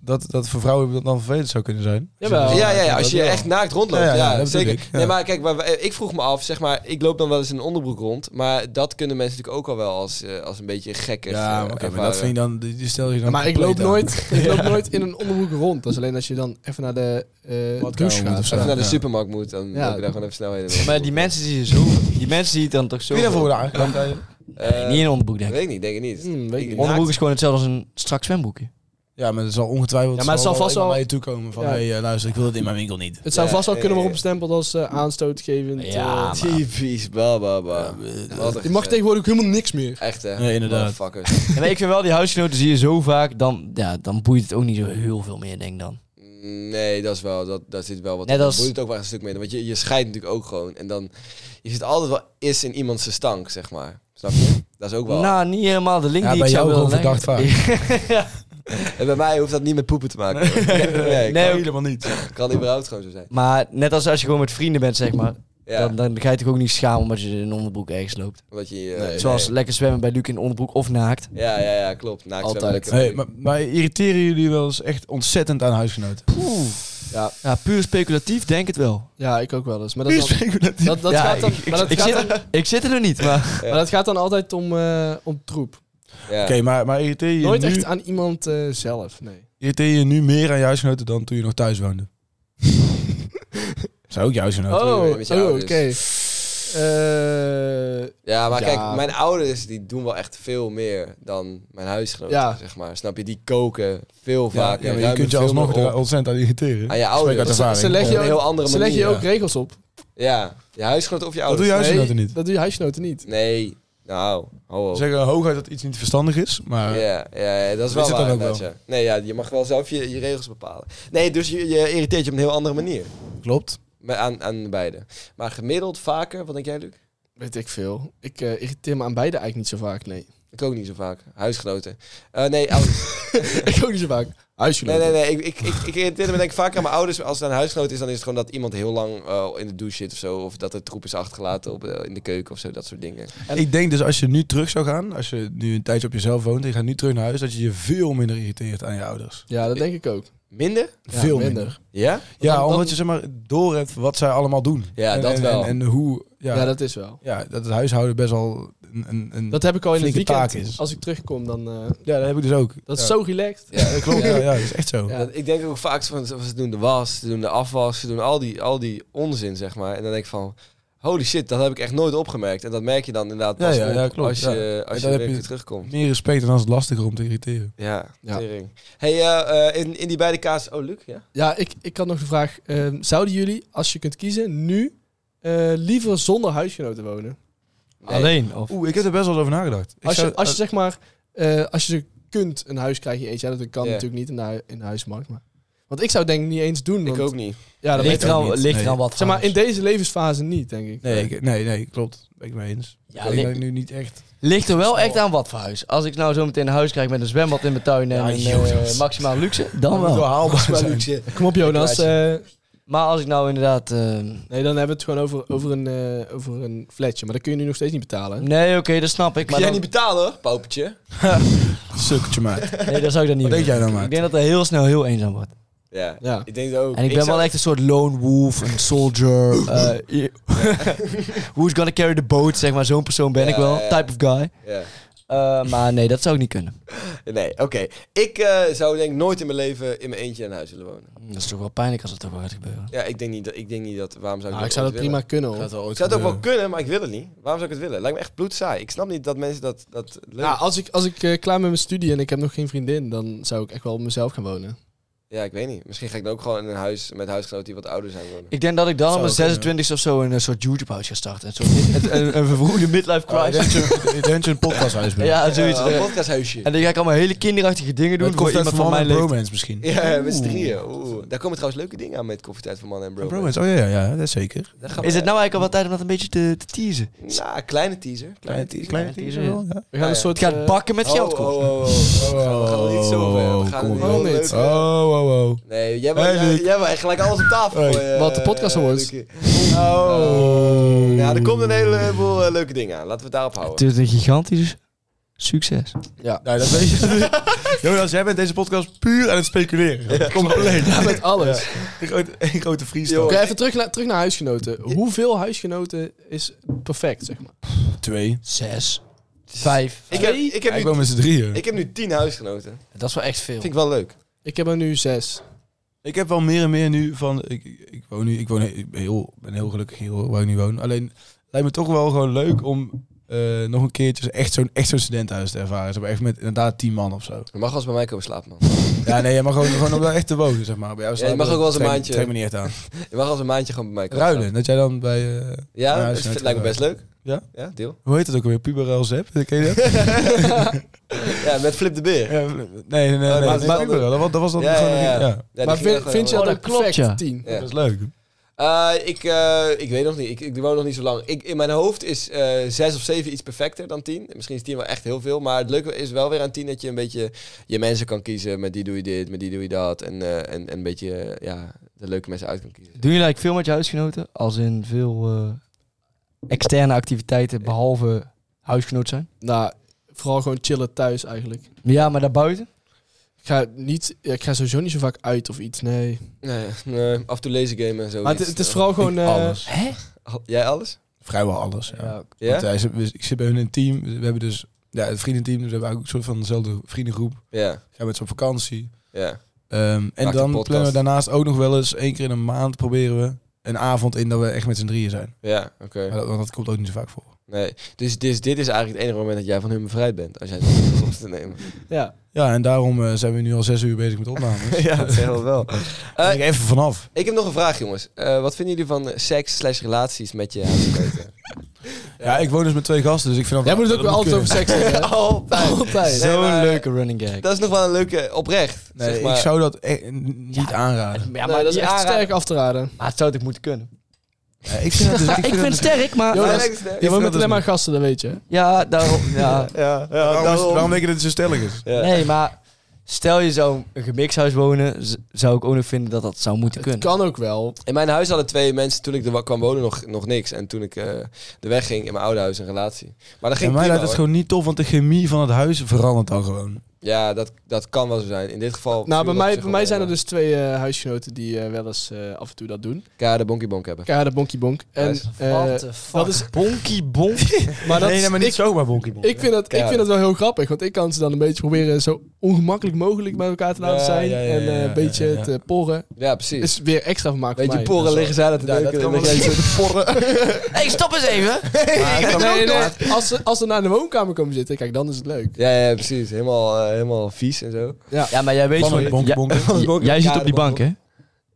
[SPEAKER 7] dat, dat voor vrouwen dat dan vervelend zou kunnen zijn.
[SPEAKER 6] Jawel.
[SPEAKER 5] ja, ja, ja, als
[SPEAKER 7] dat
[SPEAKER 5] je
[SPEAKER 7] wel.
[SPEAKER 5] echt naakt rondloopt.
[SPEAKER 7] Ja,
[SPEAKER 5] Ja,
[SPEAKER 7] ja, ja, dat bedoel
[SPEAKER 5] zeker.
[SPEAKER 7] ik, ja.
[SPEAKER 5] Nee, maar kijk, maar, wij- ik vroeg me af, zeg maar, ik loop dan wel eens in een onderbroek rond. Maar dat kunnen mensen natuurlijk ook al wel als, eh, als een beetje gekker.
[SPEAKER 7] Ja, maar,
[SPEAKER 5] eh,
[SPEAKER 7] oké, maar
[SPEAKER 5] ervaren.
[SPEAKER 7] dat vind je dan. Die die stel je dan.
[SPEAKER 6] Maar ik loop,
[SPEAKER 7] compleet aan.
[SPEAKER 6] nooit, ik loop nooit in een onderbroek rond. Dat is alleen als je dan even naar de eh,
[SPEAKER 7] Badkamer
[SPEAKER 6] douche
[SPEAKER 7] moet
[SPEAKER 6] gaat.
[SPEAKER 7] of zo.
[SPEAKER 5] Als je naar de
[SPEAKER 7] Ja.
[SPEAKER 5] supermarkt moet, dan
[SPEAKER 6] Ja.
[SPEAKER 5] loop je daar gewoon even snel heen.
[SPEAKER 8] Maar die mensen die je zo... Die mensen die het dan toch zo...
[SPEAKER 7] Wie daarvoor eh, wordt aangeklampt?
[SPEAKER 8] Nee, niet in een onderbroek, denk ik.
[SPEAKER 5] Eh, Weet ik niet, denk ik niet.
[SPEAKER 6] Hmm, weet ik niet.
[SPEAKER 8] Onderbroek is gewoon hetzelfde als een strak zwemboekje.
[SPEAKER 7] Ja, maar het zal ongetwijfeld.
[SPEAKER 6] Ja, maar het zal vast
[SPEAKER 7] iemand
[SPEAKER 6] wel-
[SPEAKER 7] naar je toe komen van.
[SPEAKER 6] Ja.
[SPEAKER 7] Hey, eh, luister, ik wil het in mijn winkel niet.
[SPEAKER 6] Het zou
[SPEAKER 5] Ja,
[SPEAKER 6] vast wel
[SPEAKER 5] ja,
[SPEAKER 6] kunnen worden
[SPEAKER 5] ja.
[SPEAKER 6] bestempeld als eh, aanstootgevend. eh,
[SPEAKER 8] Ja, maar...
[SPEAKER 5] Typisch, bla bla bla. Wat een
[SPEAKER 6] je mag
[SPEAKER 5] gezeik.
[SPEAKER 6] tegenwoordig ook helemaal niks meer.
[SPEAKER 5] Echt hè?
[SPEAKER 7] Nee, inderdaad.
[SPEAKER 5] Motherfuckers.
[SPEAKER 8] Ja, maar ik vind wel, die huisgenoten zie je zo vaak, dan, ja, dan boeit het ook niet zo heel veel meer, denk ik dan.
[SPEAKER 5] Mm, Nee, dat is wel, dat, dat zit wel wat.
[SPEAKER 8] Net
[SPEAKER 5] in.
[SPEAKER 8] als-
[SPEAKER 5] Dat boeit het ook wel een stuk mee. Want je, je scheidt natuurlijk ook gewoon. En dan, je zit altijd wel is in iemands stank, zeg maar. Snap je? Dat is ook wel.
[SPEAKER 8] Nou, niet helemaal de link
[SPEAKER 7] Ja,
[SPEAKER 8] die
[SPEAKER 7] bij
[SPEAKER 8] ik zou
[SPEAKER 7] jou
[SPEAKER 8] willen
[SPEAKER 7] gewoon
[SPEAKER 8] leggen.
[SPEAKER 5] En bij mij hoeft dat niet met poepen te maken. hoor. nee, ik
[SPEAKER 8] Nee, ook-
[SPEAKER 7] helemaal niet.
[SPEAKER 5] kan, kan überhaupt gewoon zo zijn.
[SPEAKER 8] maar net als als je gewoon met vrienden bent, zeg maar,
[SPEAKER 5] Ja,
[SPEAKER 8] dan, dan ga je toch ook niet schamen omdat je in een onderbroek ergens loopt.
[SPEAKER 5] omdat je... eh,
[SPEAKER 8] Zoals lekker zwemmen bij Luc in een onderbroek of naakt.
[SPEAKER 5] nee. Ja, ja, ja, klopt. Naakt zwemmen,
[SPEAKER 6] Altijd.
[SPEAKER 5] lekker.
[SPEAKER 7] Hey, maar, maar irriteren jullie wel eens echt ontzettend aan huisgenoten?
[SPEAKER 6] Ja,
[SPEAKER 8] Ja, puur speculatief, denk het wel.
[SPEAKER 6] ja ik ook wel eens. Maar dat,
[SPEAKER 7] Puur
[SPEAKER 6] is dan-
[SPEAKER 7] speculatief.
[SPEAKER 6] dat, dat
[SPEAKER 8] Ja,
[SPEAKER 6] gaat dan,
[SPEAKER 8] ik-
[SPEAKER 6] maar dat
[SPEAKER 8] Ik
[SPEAKER 6] gaat
[SPEAKER 8] zit,
[SPEAKER 6] dan-
[SPEAKER 8] er, ik zit er nog niet, maar...
[SPEAKER 6] maar dat gaat dan altijd om, eh, om troep.
[SPEAKER 5] Ja.
[SPEAKER 7] Oké, maar, maar irriteer, je
[SPEAKER 6] Nooit
[SPEAKER 7] nu,
[SPEAKER 6] echt aan iemand eh, zelf, nee.
[SPEAKER 7] irriteer je nu meer aan je huisgenoten dan toen je nog thuis woonde? Zijn ook je huisgenoten.
[SPEAKER 6] Oh,
[SPEAKER 5] je- met je
[SPEAKER 6] oh, oké.
[SPEAKER 5] ouders.
[SPEAKER 6] Eh,
[SPEAKER 5] Ja, maar
[SPEAKER 6] Ja.
[SPEAKER 5] kijk, mijn ouders die doen wel echt veel meer dan mijn huisgenoten,
[SPEAKER 6] Ja.
[SPEAKER 5] zeg maar. Snap je? Die koken veel
[SPEAKER 7] Ja,
[SPEAKER 5] vaker.
[SPEAKER 7] ja, maar je
[SPEAKER 5] ruimen
[SPEAKER 7] kunt je
[SPEAKER 5] veel
[SPEAKER 7] alsnog
[SPEAKER 5] meer
[SPEAKER 7] er
[SPEAKER 5] op.
[SPEAKER 7] ontzettend aan irriteren.
[SPEAKER 5] Aan je
[SPEAKER 7] Spreek
[SPEAKER 5] ouders.
[SPEAKER 7] uit
[SPEAKER 5] Dat-
[SPEAKER 7] ervaring.
[SPEAKER 6] Ah, ze leggen
[SPEAKER 5] Op
[SPEAKER 6] je
[SPEAKER 5] een
[SPEAKER 6] ook-
[SPEAKER 5] heel andere
[SPEAKER 6] ze leggen je
[SPEAKER 5] manier,
[SPEAKER 6] ook
[SPEAKER 5] ja.
[SPEAKER 6] regels op.
[SPEAKER 5] Ja, je huisgenoten of je
[SPEAKER 7] Dat doe
[SPEAKER 5] ouders.
[SPEAKER 7] je huisgenoten niet.
[SPEAKER 6] dat doe je huisgenoten niet.
[SPEAKER 5] Nee, nou, ho, ho.
[SPEAKER 7] Ze zeggen hooguit dat iets niet verstandig is, maar...
[SPEAKER 5] Ja, ja, ja, dat is wel
[SPEAKER 7] Weet je het dan
[SPEAKER 5] waar.
[SPEAKER 7] ook
[SPEAKER 5] inderdaad,
[SPEAKER 7] wel?
[SPEAKER 5] ja. Nee, ja, je mag wel zelf je, je regels bepalen. Nee, dus je, je irriteert je op een heel andere manier.
[SPEAKER 7] Klopt.
[SPEAKER 5] Met- Aan, aan beide. Maar gemiddeld vaker, wat denk jij, Luc?
[SPEAKER 6] Weet ik veel. Ik eh, irriteer me aan beide eigenlijk niet zo vaak, nee.
[SPEAKER 5] Ik ook niet zo vaak. Huisgenoten. Eh, nee, ouders.
[SPEAKER 6] ik ook niet zo vaak.
[SPEAKER 5] nee,
[SPEAKER 6] Huisgenoten.
[SPEAKER 5] nee, nee. Ik, ik, ik, ik irriteerde me denk ik vaker aan mijn ouders. Als het een huisgenoot is, dan is het gewoon dat iemand heel lang eh, in de douche zit of zo. Of dat er troep is achtergelaten op, eh, in de keuken of zo. Dat soort dingen.
[SPEAKER 7] Ik denk dus als je nu terug zou gaan, als je nu een tijdje op jezelf woont en je gaat nu terug naar huis, dat je je veel minder irriteert aan je ouders.
[SPEAKER 6] Ja, dat denk ik ook.
[SPEAKER 5] Minder?
[SPEAKER 6] Ja,
[SPEAKER 7] veel minder.
[SPEAKER 5] Ja?
[SPEAKER 7] Ja,
[SPEAKER 6] dan-
[SPEAKER 7] omdat
[SPEAKER 6] dan-
[SPEAKER 7] je zeg maar door hebt wat zij allemaal doen.
[SPEAKER 5] Ja,
[SPEAKER 7] en,
[SPEAKER 5] dat
[SPEAKER 7] en-
[SPEAKER 5] wel.
[SPEAKER 7] En, en hoe... Ja,
[SPEAKER 6] Ja. dat is wel.
[SPEAKER 7] ja, dat het huishouden best wel een... een, een
[SPEAKER 6] Dat heb ik al in het
[SPEAKER 7] Flinke
[SPEAKER 6] weekend.
[SPEAKER 7] taak is.
[SPEAKER 6] Als ik terugkom, dan... eh,
[SPEAKER 7] ja, dat heb ik dus ook.
[SPEAKER 6] dat is
[SPEAKER 7] Ja.
[SPEAKER 6] zo relaxed.
[SPEAKER 5] Ja, dat klopt.
[SPEAKER 7] Ja, ja, dat is echt zo.
[SPEAKER 6] Ja.
[SPEAKER 5] Dat- ik denk ook vaak van ze ze doen de was, ze doen de afwas, ze doen al die, al die onzin, zeg maar. En dan denk ik van, holy shit, dat heb ik echt nooit opgemerkt. En dat merk je dan inderdaad
[SPEAKER 7] Ja,
[SPEAKER 5] pas
[SPEAKER 7] ja,
[SPEAKER 5] op
[SPEAKER 7] ja, klopt,
[SPEAKER 5] als
[SPEAKER 7] ja.
[SPEAKER 5] je, als
[SPEAKER 7] En
[SPEAKER 5] je
[SPEAKER 7] dan
[SPEAKER 5] weer
[SPEAKER 7] heb je-
[SPEAKER 5] weer terugkomt.
[SPEAKER 7] Meer respect en dan is het lastiger om te irriteren.
[SPEAKER 5] Ja,
[SPEAKER 6] Ja.
[SPEAKER 5] tering. Hey, eh, eh, in, in die beide kaas... Oh, Luc, ja?
[SPEAKER 6] Ja, ik, ik had nog de vraag. ehm, zouden jullie, als je kunt kiezen, nu eh, liever zonder huisgenoten wonen?
[SPEAKER 5] Nee.
[SPEAKER 8] Alleen, of...
[SPEAKER 7] Oeh, ik heb er best wel eens over nagedacht. Ik
[SPEAKER 6] Als je,
[SPEAKER 7] zou-
[SPEAKER 6] als je zeg maar... eh, als je kunt een huis krijgen in je eentje. Ja, dat kan
[SPEAKER 5] Ja.
[SPEAKER 6] natuurlijk niet in de, hu- in de huismarkt. Maar. Want ik zou het denk ik niet eens doen.
[SPEAKER 5] Ik
[SPEAKER 6] want-
[SPEAKER 5] ook niet.
[SPEAKER 6] Ja, dat weet
[SPEAKER 8] Ligt
[SPEAKER 6] ik ook
[SPEAKER 8] eraan
[SPEAKER 6] niet.
[SPEAKER 7] niet.
[SPEAKER 8] ligt
[SPEAKER 7] Nee.
[SPEAKER 8] eraan wat
[SPEAKER 6] Zeg maar, in
[SPEAKER 8] trouwens.
[SPEAKER 6] deze levensfase niet, denk ik.
[SPEAKER 7] Nee, ik- nee, nee, klopt. Ben ik mee eens.
[SPEAKER 8] Ja,
[SPEAKER 7] ik
[SPEAKER 8] li-
[SPEAKER 7] denk dat ik nu niet echt...
[SPEAKER 8] Ligt er wel echt aan wat voor huis. Als ik nou zo meteen een huis krijg met een zwembad in mijn tuin en
[SPEAKER 7] Ja,
[SPEAKER 8] een
[SPEAKER 7] joh,
[SPEAKER 8] eh,
[SPEAKER 7] dat is-
[SPEAKER 8] maximaal luxe, dan wel.
[SPEAKER 7] haalbaar zijn.
[SPEAKER 6] Kom op, Jonas. eh,
[SPEAKER 8] Maar als ik nou inderdaad... eh,
[SPEAKER 6] Nee, dan hebben we het gewoon over, over, een, eh, over een flatje. Maar dat kun je nu nog steeds niet betalen. hè?
[SPEAKER 8] nee, oké, dat snap ik.
[SPEAKER 5] Kun
[SPEAKER 8] Maar
[SPEAKER 5] jij
[SPEAKER 8] dan,
[SPEAKER 5] niet betalen, hoor, paupertje?
[SPEAKER 7] Sukkeltje maar.
[SPEAKER 8] nee, dat zou ik dan niet
[SPEAKER 7] Wat denk
[SPEAKER 8] doen.
[SPEAKER 7] jij nou, maat?
[SPEAKER 8] Ik denk dat dat heel snel heel eenzaam wordt.
[SPEAKER 5] Ja.
[SPEAKER 6] Ja.
[SPEAKER 5] Ik denk dat ook.
[SPEAKER 8] En ik ben
[SPEAKER 5] zou-
[SPEAKER 8] wel echt een soort lone wolf, een soldier. eh, je- who's gonna carry the boat, zeg maar. Zo'n persoon ben
[SPEAKER 5] Ja,
[SPEAKER 8] ik wel.
[SPEAKER 5] ja.
[SPEAKER 8] Type of guy.
[SPEAKER 5] Ja.
[SPEAKER 8] Eh, maar nee, dat zou ik niet kunnen.
[SPEAKER 5] Nee, oké. Ik eh, zou denk ik nooit in mijn leven in mijn eentje in huis willen wonen.
[SPEAKER 8] Dat is toch wel pijnlijk als het toch wel gaat gebeuren.
[SPEAKER 5] Ja, ik denk niet dat... Ik denk niet dat waarom zou ik
[SPEAKER 6] Nou, ik
[SPEAKER 5] dat
[SPEAKER 6] zou
[SPEAKER 5] ooit
[SPEAKER 6] dat prima
[SPEAKER 5] willen?
[SPEAKER 6] kunnen hoor.
[SPEAKER 5] Ik zou het ook wel kunnen, maar ik wil het niet. Waarom zou ik het willen? Lijkt me echt bloedsaai. Ik snap niet dat mensen dat, dat leuk
[SPEAKER 6] Ja, als ik, als ik eh, klaar met mijn studie en ik heb nog geen vriendin, dan zou ik echt wel op mezelf gaan wonen.
[SPEAKER 5] Ja, ik weet niet. Misschien ga ik dan ook gewoon in een huis met huisgenoten die wat ouder zijn worden.
[SPEAKER 8] Ik denk dat ik dan op
[SPEAKER 7] Zou
[SPEAKER 8] mijn
[SPEAKER 7] kunnen.
[SPEAKER 8] 26 of zo een eh, soort YouTube-huis ga starten. Een, soort, een, een, een vervroegde midlife
[SPEAKER 7] Ik denk
[SPEAKER 8] crisis.
[SPEAKER 7] Oh, dat je- ik denk dat je Eh, een podcasthuis bent.
[SPEAKER 8] Ja, zoiets.
[SPEAKER 5] een
[SPEAKER 8] eh.
[SPEAKER 5] podcasthuisje.
[SPEAKER 8] En dan ga ik allemaal hele kinderachtige dingen doen
[SPEAKER 7] Dat
[SPEAKER 8] voor
[SPEAKER 7] komt uit
[SPEAKER 8] iemand
[SPEAKER 7] van,
[SPEAKER 8] van mijn leeftijd.
[SPEAKER 7] bromance misschien.
[SPEAKER 5] Ja, met z'n drieën. Oeh. Daar komen trouwens leuke dingen aan met Koffietijd van Mannen en Bro.
[SPEAKER 7] Bromance, oh ja, ja, ja, dat is zeker.
[SPEAKER 5] Daar gaan we-
[SPEAKER 8] Is het nou eigenlijk al wat tijd om dat een beetje te, te teasen?
[SPEAKER 5] Nou, kleine teaser. Kleine teaser.
[SPEAKER 8] kleine teaser wel,
[SPEAKER 7] ja.
[SPEAKER 6] We gaan
[SPEAKER 5] ja.
[SPEAKER 6] een soort...
[SPEAKER 8] Het gaat
[SPEAKER 6] eh,
[SPEAKER 8] bakken met geld
[SPEAKER 5] Oh, oh, oh, oh. We gaan er niet zo ver. We gaan er
[SPEAKER 7] Kom
[SPEAKER 5] niet
[SPEAKER 7] op.
[SPEAKER 5] heel
[SPEAKER 6] niet.
[SPEAKER 5] leuk.
[SPEAKER 7] Oh, oh, oh.
[SPEAKER 5] Nee, jij wil,
[SPEAKER 7] Hey,
[SPEAKER 5] jij,
[SPEAKER 7] Luc.
[SPEAKER 5] jij wil echt gelijk alles op tafel
[SPEAKER 7] Hey.
[SPEAKER 5] gooien,
[SPEAKER 6] Wat de
[SPEAKER 5] eh,
[SPEAKER 6] podcast awards.
[SPEAKER 5] Lucie. Ja,
[SPEAKER 7] Oh.
[SPEAKER 5] er komt een heleboel eh, leuke dingen aan. Laten we het daarop houden.
[SPEAKER 8] is een gigantisch succes.
[SPEAKER 6] Ja,
[SPEAKER 7] Nou, dat weet je. Jonas, jij bent deze podcast puur aan het speculeren. Compleet.
[SPEAKER 6] Ja, met alles.
[SPEAKER 7] Een grote- Een grote
[SPEAKER 5] Yo.
[SPEAKER 7] freestyle.
[SPEAKER 6] Oké, even terug naar, terug naar huisgenoten. Hoeveel huisgenoten is perfect, zeg maar?
[SPEAKER 7] Twee.
[SPEAKER 8] Zes. Vijf.
[SPEAKER 5] Ik heb, ik, heb
[SPEAKER 7] Ik
[SPEAKER 5] nu,
[SPEAKER 7] woon met z'n drieën.
[SPEAKER 5] ik heb nu tien huisgenoten.
[SPEAKER 8] Dat is wel echt veel.
[SPEAKER 5] Vind ik wel leuk.
[SPEAKER 6] Ik heb er nu zes.
[SPEAKER 7] Ik heb wel meer en meer nu van... Ik, ik woon nu... Ik, woon, he- ik ben, heel, ben heel gelukkig hier hoor, waar ik nu woon. Alleen het lijkt me toch wel gewoon leuk om... eh, nog een keertje echt zo'n echt zo'n studentenhuis te ervaren. Zeg maar echt met inderdaad tien man of zo.
[SPEAKER 5] Je mag wel eens bij mij komen slapen, man.
[SPEAKER 7] Ja, nee, je mag gewoon, gewoon om daar echt te wonen, zeg maar. Bij jou
[SPEAKER 5] Ja, je mag ook wel eens een maandje-
[SPEAKER 7] Trek me niet echt aan.
[SPEAKER 5] Je mag als een maandje gewoon bij mij komen slapen.
[SPEAKER 7] Ruilen, dat jij dan bij... eh,
[SPEAKER 5] Ja,
[SPEAKER 7] Ja,
[SPEAKER 5] dat
[SPEAKER 7] is net
[SPEAKER 5] lijkt me
[SPEAKER 7] wel.
[SPEAKER 5] best leuk.
[SPEAKER 7] Ja?
[SPEAKER 5] Ja, deal.
[SPEAKER 7] hoe heet dat ook alweer? Puberel Zep? Ken je dat?
[SPEAKER 5] Ja, met Flip de Beer.
[SPEAKER 7] Ja, nee, nee, nee.
[SPEAKER 5] Oh, maar-
[SPEAKER 7] nee, dat is
[SPEAKER 5] maar-
[SPEAKER 7] Puberel. Dat was, dat was dan
[SPEAKER 5] Ja,
[SPEAKER 7] gewoon...
[SPEAKER 5] ja, ja.
[SPEAKER 7] een-
[SPEAKER 5] Ja, die
[SPEAKER 6] maar
[SPEAKER 5] gingen
[SPEAKER 6] vind,
[SPEAKER 5] gewoon-
[SPEAKER 6] vind je
[SPEAKER 8] Oh,
[SPEAKER 6] dat
[SPEAKER 8] dat
[SPEAKER 6] een
[SPEAKER 8] klopt,
[SPEAKER 6] perfect
[SPEAKER 8] ja.
[SPEAKER 6] tien?
[SPEAKER 5] Ja.
[SPEAKER 7] Dat is leuk.
[SPEAKER 5] Eh, ik, eh, ik weet nog niet. Ik, ik woon nog niet zo lang. Ik, in mijn hoofd is eh, zes of zeven iets perfecter dan tien. Misschien is tien wel echt heel veel. Maar het leuke is wel weer aan tien dat je een beetje je mensen kan kiezen. Met die doe je dit, met die doe je dat. En, eh, en, en een beetje eh, ja, de leuke mensen uit kan kiezen.
[SPEAKER 8] Doen jullie eigenlijk veel met je huisgenoten? Als in veel eh, externe activiteiten behalve huisgenoot zijn?
[SPEAKER 6] Nou, vooral gewoon chillen thuis eigenlijk.
[SPEAKER 8] Ja, maar daarbuiten?
[SPEAKER 6] Ik ga, niet, ja, ik ga sowieso niet zo vaak uit of iets, nee.
[SPEAKER 5] Nee, nee, af en toe lezen gamen en zo.
[SPEAKER 6] Maar het, het is vooral gewoon...
[SPEAKER 7] Ik
[SPEAKER 6] eh,
[SPEAKER 7] alles.
[SPEAKER 6] Hè?
[SPEAKER 5] Jij alles?
[SPEAKER 7] Vrijwel alles, ja.
[SPEAKER 6] Ja,
[SPEAKER 5] Ja?
[SPEAKER 7] Want, eh, ze- we- ik zit bij hun in een team. We hebben dus ja, het vriendenteam. Dus we hebben eigenlijk een soort van dezelfde vriendengroep.
[SPEAKER 5] Ja,
[SPEAKER 7] Gaan met z'n op vakantie.
[SPEAKER 5] ja.
[SPEAKER 7] Ehm, en
[SPEAKER 5] een
[SPEAKER 7] dan
[SPEAKER 5] podcast.
[SPEAKER 7] plannen we daarnaast ook nog wel eens één keer in een maand proberen we een avond in dat we echt met z'n drieën zijn.
[SPEAKER 5] Ja, oké.
[SPEAKER 7] Maar dat, want dat komt ook niet zo vaak voor.
[SPEAKER 5] Nee. Dus, dus dit is eigenlijk het enige moment dat jij van hun bevrijd bent. Als jij het op te nemen.
[SPEAKER 6] ja.
[SPEAKER 7] Ja, en daarom eh, zijn we nu al zes uur bezig met opnames.
[SPEAKER 5] ja, dat heel wel.
[SPEAKER 7] Ben ik even vanaf.
[SPEAKER 5] ik heb nog een vraag, jongens. Eh, wat vinden jullie van eh, seks slash relaties met je huisgenoten?
[SPEAKER 7] Ja, ik woon dus met twee gasten, dus ik vind dat...
[SPEAKER 6] Jij moet het ook
[SPEAKER 7] dat
[SPEAKER 6] wel altijd
[SPEAKER 7] kunnen.
[SPEAKER 6] over seks hebben. hè?
[SPEAKER 5] Altijd.
[SPEAKER 6] Altijd.
[SPEAKER 5] Nee,
[SPEAKER 8] Zo'n
[SPEAKER 5] maar-
[SPEAKER 8] leuke running gag.
[SPEAKER 5] Dat is nog wel een leuke, oprecht.
[SPEAKER 7] Nee,
[SPEAKER 5] zeg maar.
[SPEAKER 7] ik zou dat echt niet aanraden.
[SPEAKER 6] Ja, maar
[SPEAKER 5] Nee,
[SPEAKER 6] dat is
[SPEAKER 5] die
[SPEAKER 6] echt
[SPEAKER 5] aanraden-
[SPEAKER 6] sterk af te raden.
[SPEAKER 8] Maar Ah, het zou toch moeten kunnen?
[SPEAKER 7] Ja, ik vind dat dus...
[SPEAKER 8] ik vind het sterk, maar...
[SPEAKER 5] Ja,
[SPEAKER 6] Jonas,
[SPEAKER 5] nee, ik-
[SPEAKER 6] je woont
[SPEAKER 7] dat
[SPEAKER 6] met
[SPEAKER 7] dus
[SPEAKER 6] alleen maar
[SPEAKER 7] niet.
[SPEAKER 6] gasten, dat weet je. hè?
[SPEAKER 8] Ja, daarom... Ja.
[SPEAKER 5] ja, ja,
[SPEAKER 7] waarom, is-
[SPEAKER 5] daarom.
[SPEAKER 7] waarom denk je dat het zo stellig is?
[SPEAKER 5] Ja.
[SPEAKER 8] Nee, maar stel je zou een gemixhuis wonen, z- zou ik ook nog vinden dat dat zou moeten
[SPEAKER 6] Het
[SPEAKER 8] kunnen.
[SPEAKER 6] kan ook wel.
[SPEAKER 5] In mijn huis hadden twee mensen toen ik er wa- kwam wonen nog, nog niks. En toen ik eh, de weg ging in mijn oude huis een relatie. Maar dat ging
[SPEAKER 7] En
[SPEAKER 5] prima,
[SPEAKER 7] mij lijkt het
[SPEAKER 5] hoor.
[SPEAKER 7] gewoon niet tof, want de chemie van het huis verandert dan gewoon.
[SPEAKER 5] Ja, dat, dat kan wel zo zijn. In dit geval...
[SPEAKER 6] Nou, bij
[SPEAKER 5] viel dat op
[SPEAKER 6] mij,
[SPEAKER 5] zich
[SPEAKER 6] bij
[SPEAKER 5] wel
[SPEAKER 6] mij zijn er
[SPEAKER 5] mee.
[SPEAKER 6] dus twee eh, huisgenoten die eh, wel eens eh, af en toe dat doen.
[SPEAKER 5] Kara de bonkie bonk hebben.
[SPEAKER 6] Kara de Bonkie Bonk. En,
[SPEAKER 5] Nice.
[SPEAKER 6] eh, dat is bonky bonk. maar dat
[SPEAKER 7] nee, nee, maar
[SPEAKER 6] is-
[SPEAKER 7] niet
[SPEAKER 6] ik,
[SPEAKER 7] zomaar bonkie bonk.
[SPEAKER 6] ik, vind dat, ik
[SPEAKER 5] Keiharde.
[SPEAKER 6] vind dat wel heel grappig, want ik kan ze dan een beetje proberen zo ongemakkelijk mogelijk bij elkaar te laten
[SPEAKER 7] Ja,
[SPEAKER 6] zijn.
[SPEAKER 7] ja, ja,
[SPEAKER 6] en eh,
[SPEAKER 7] ja, ja,
[SPEAKER 6] een beetje
[SPEAKER 7] ja, ja.
[SPEAKER 6] te porren.
[SPEAKER 5] Ja, precies.
[SPEAKER 6] Is weer extra vermaak voor
[SPEAKER 5] Weet je,
[SPEAKER 6] mij.
[SPEAKER 5] poren
[SPEAKER 6] Dat is
[SPEAKER 5] liggen zij dat te
[SPEAKER 7] Ja, dat
[SPEAKER 5] neuken en
[SPEAKER 7] kan
[SPEAKER 5] dat
[SPEAKER 7] wel.
[SPEAKER 5] jij zit te porren.
[SPEAKER 8] hey, stop eens even!
[SPEAKER 6] wel- Nee, nee, Als ze, als ze naar de woonkamer komen zitten, kijk, dan is het leuk.
[SPEAKER 5] Ja, ja, precies. Helemaal, eh, helemaal vies en zo.
[SPEAKER 8] Ja, maar jij weet
[SPEAKER 7] Van
[SPEAKER 8] van...
[SPEAKER 7] het bonkie
[SPEAKER 8] Ja,
[SPEAKER 7] bonk.
[SPEAKER 8] J- jij zit op die bank, hè?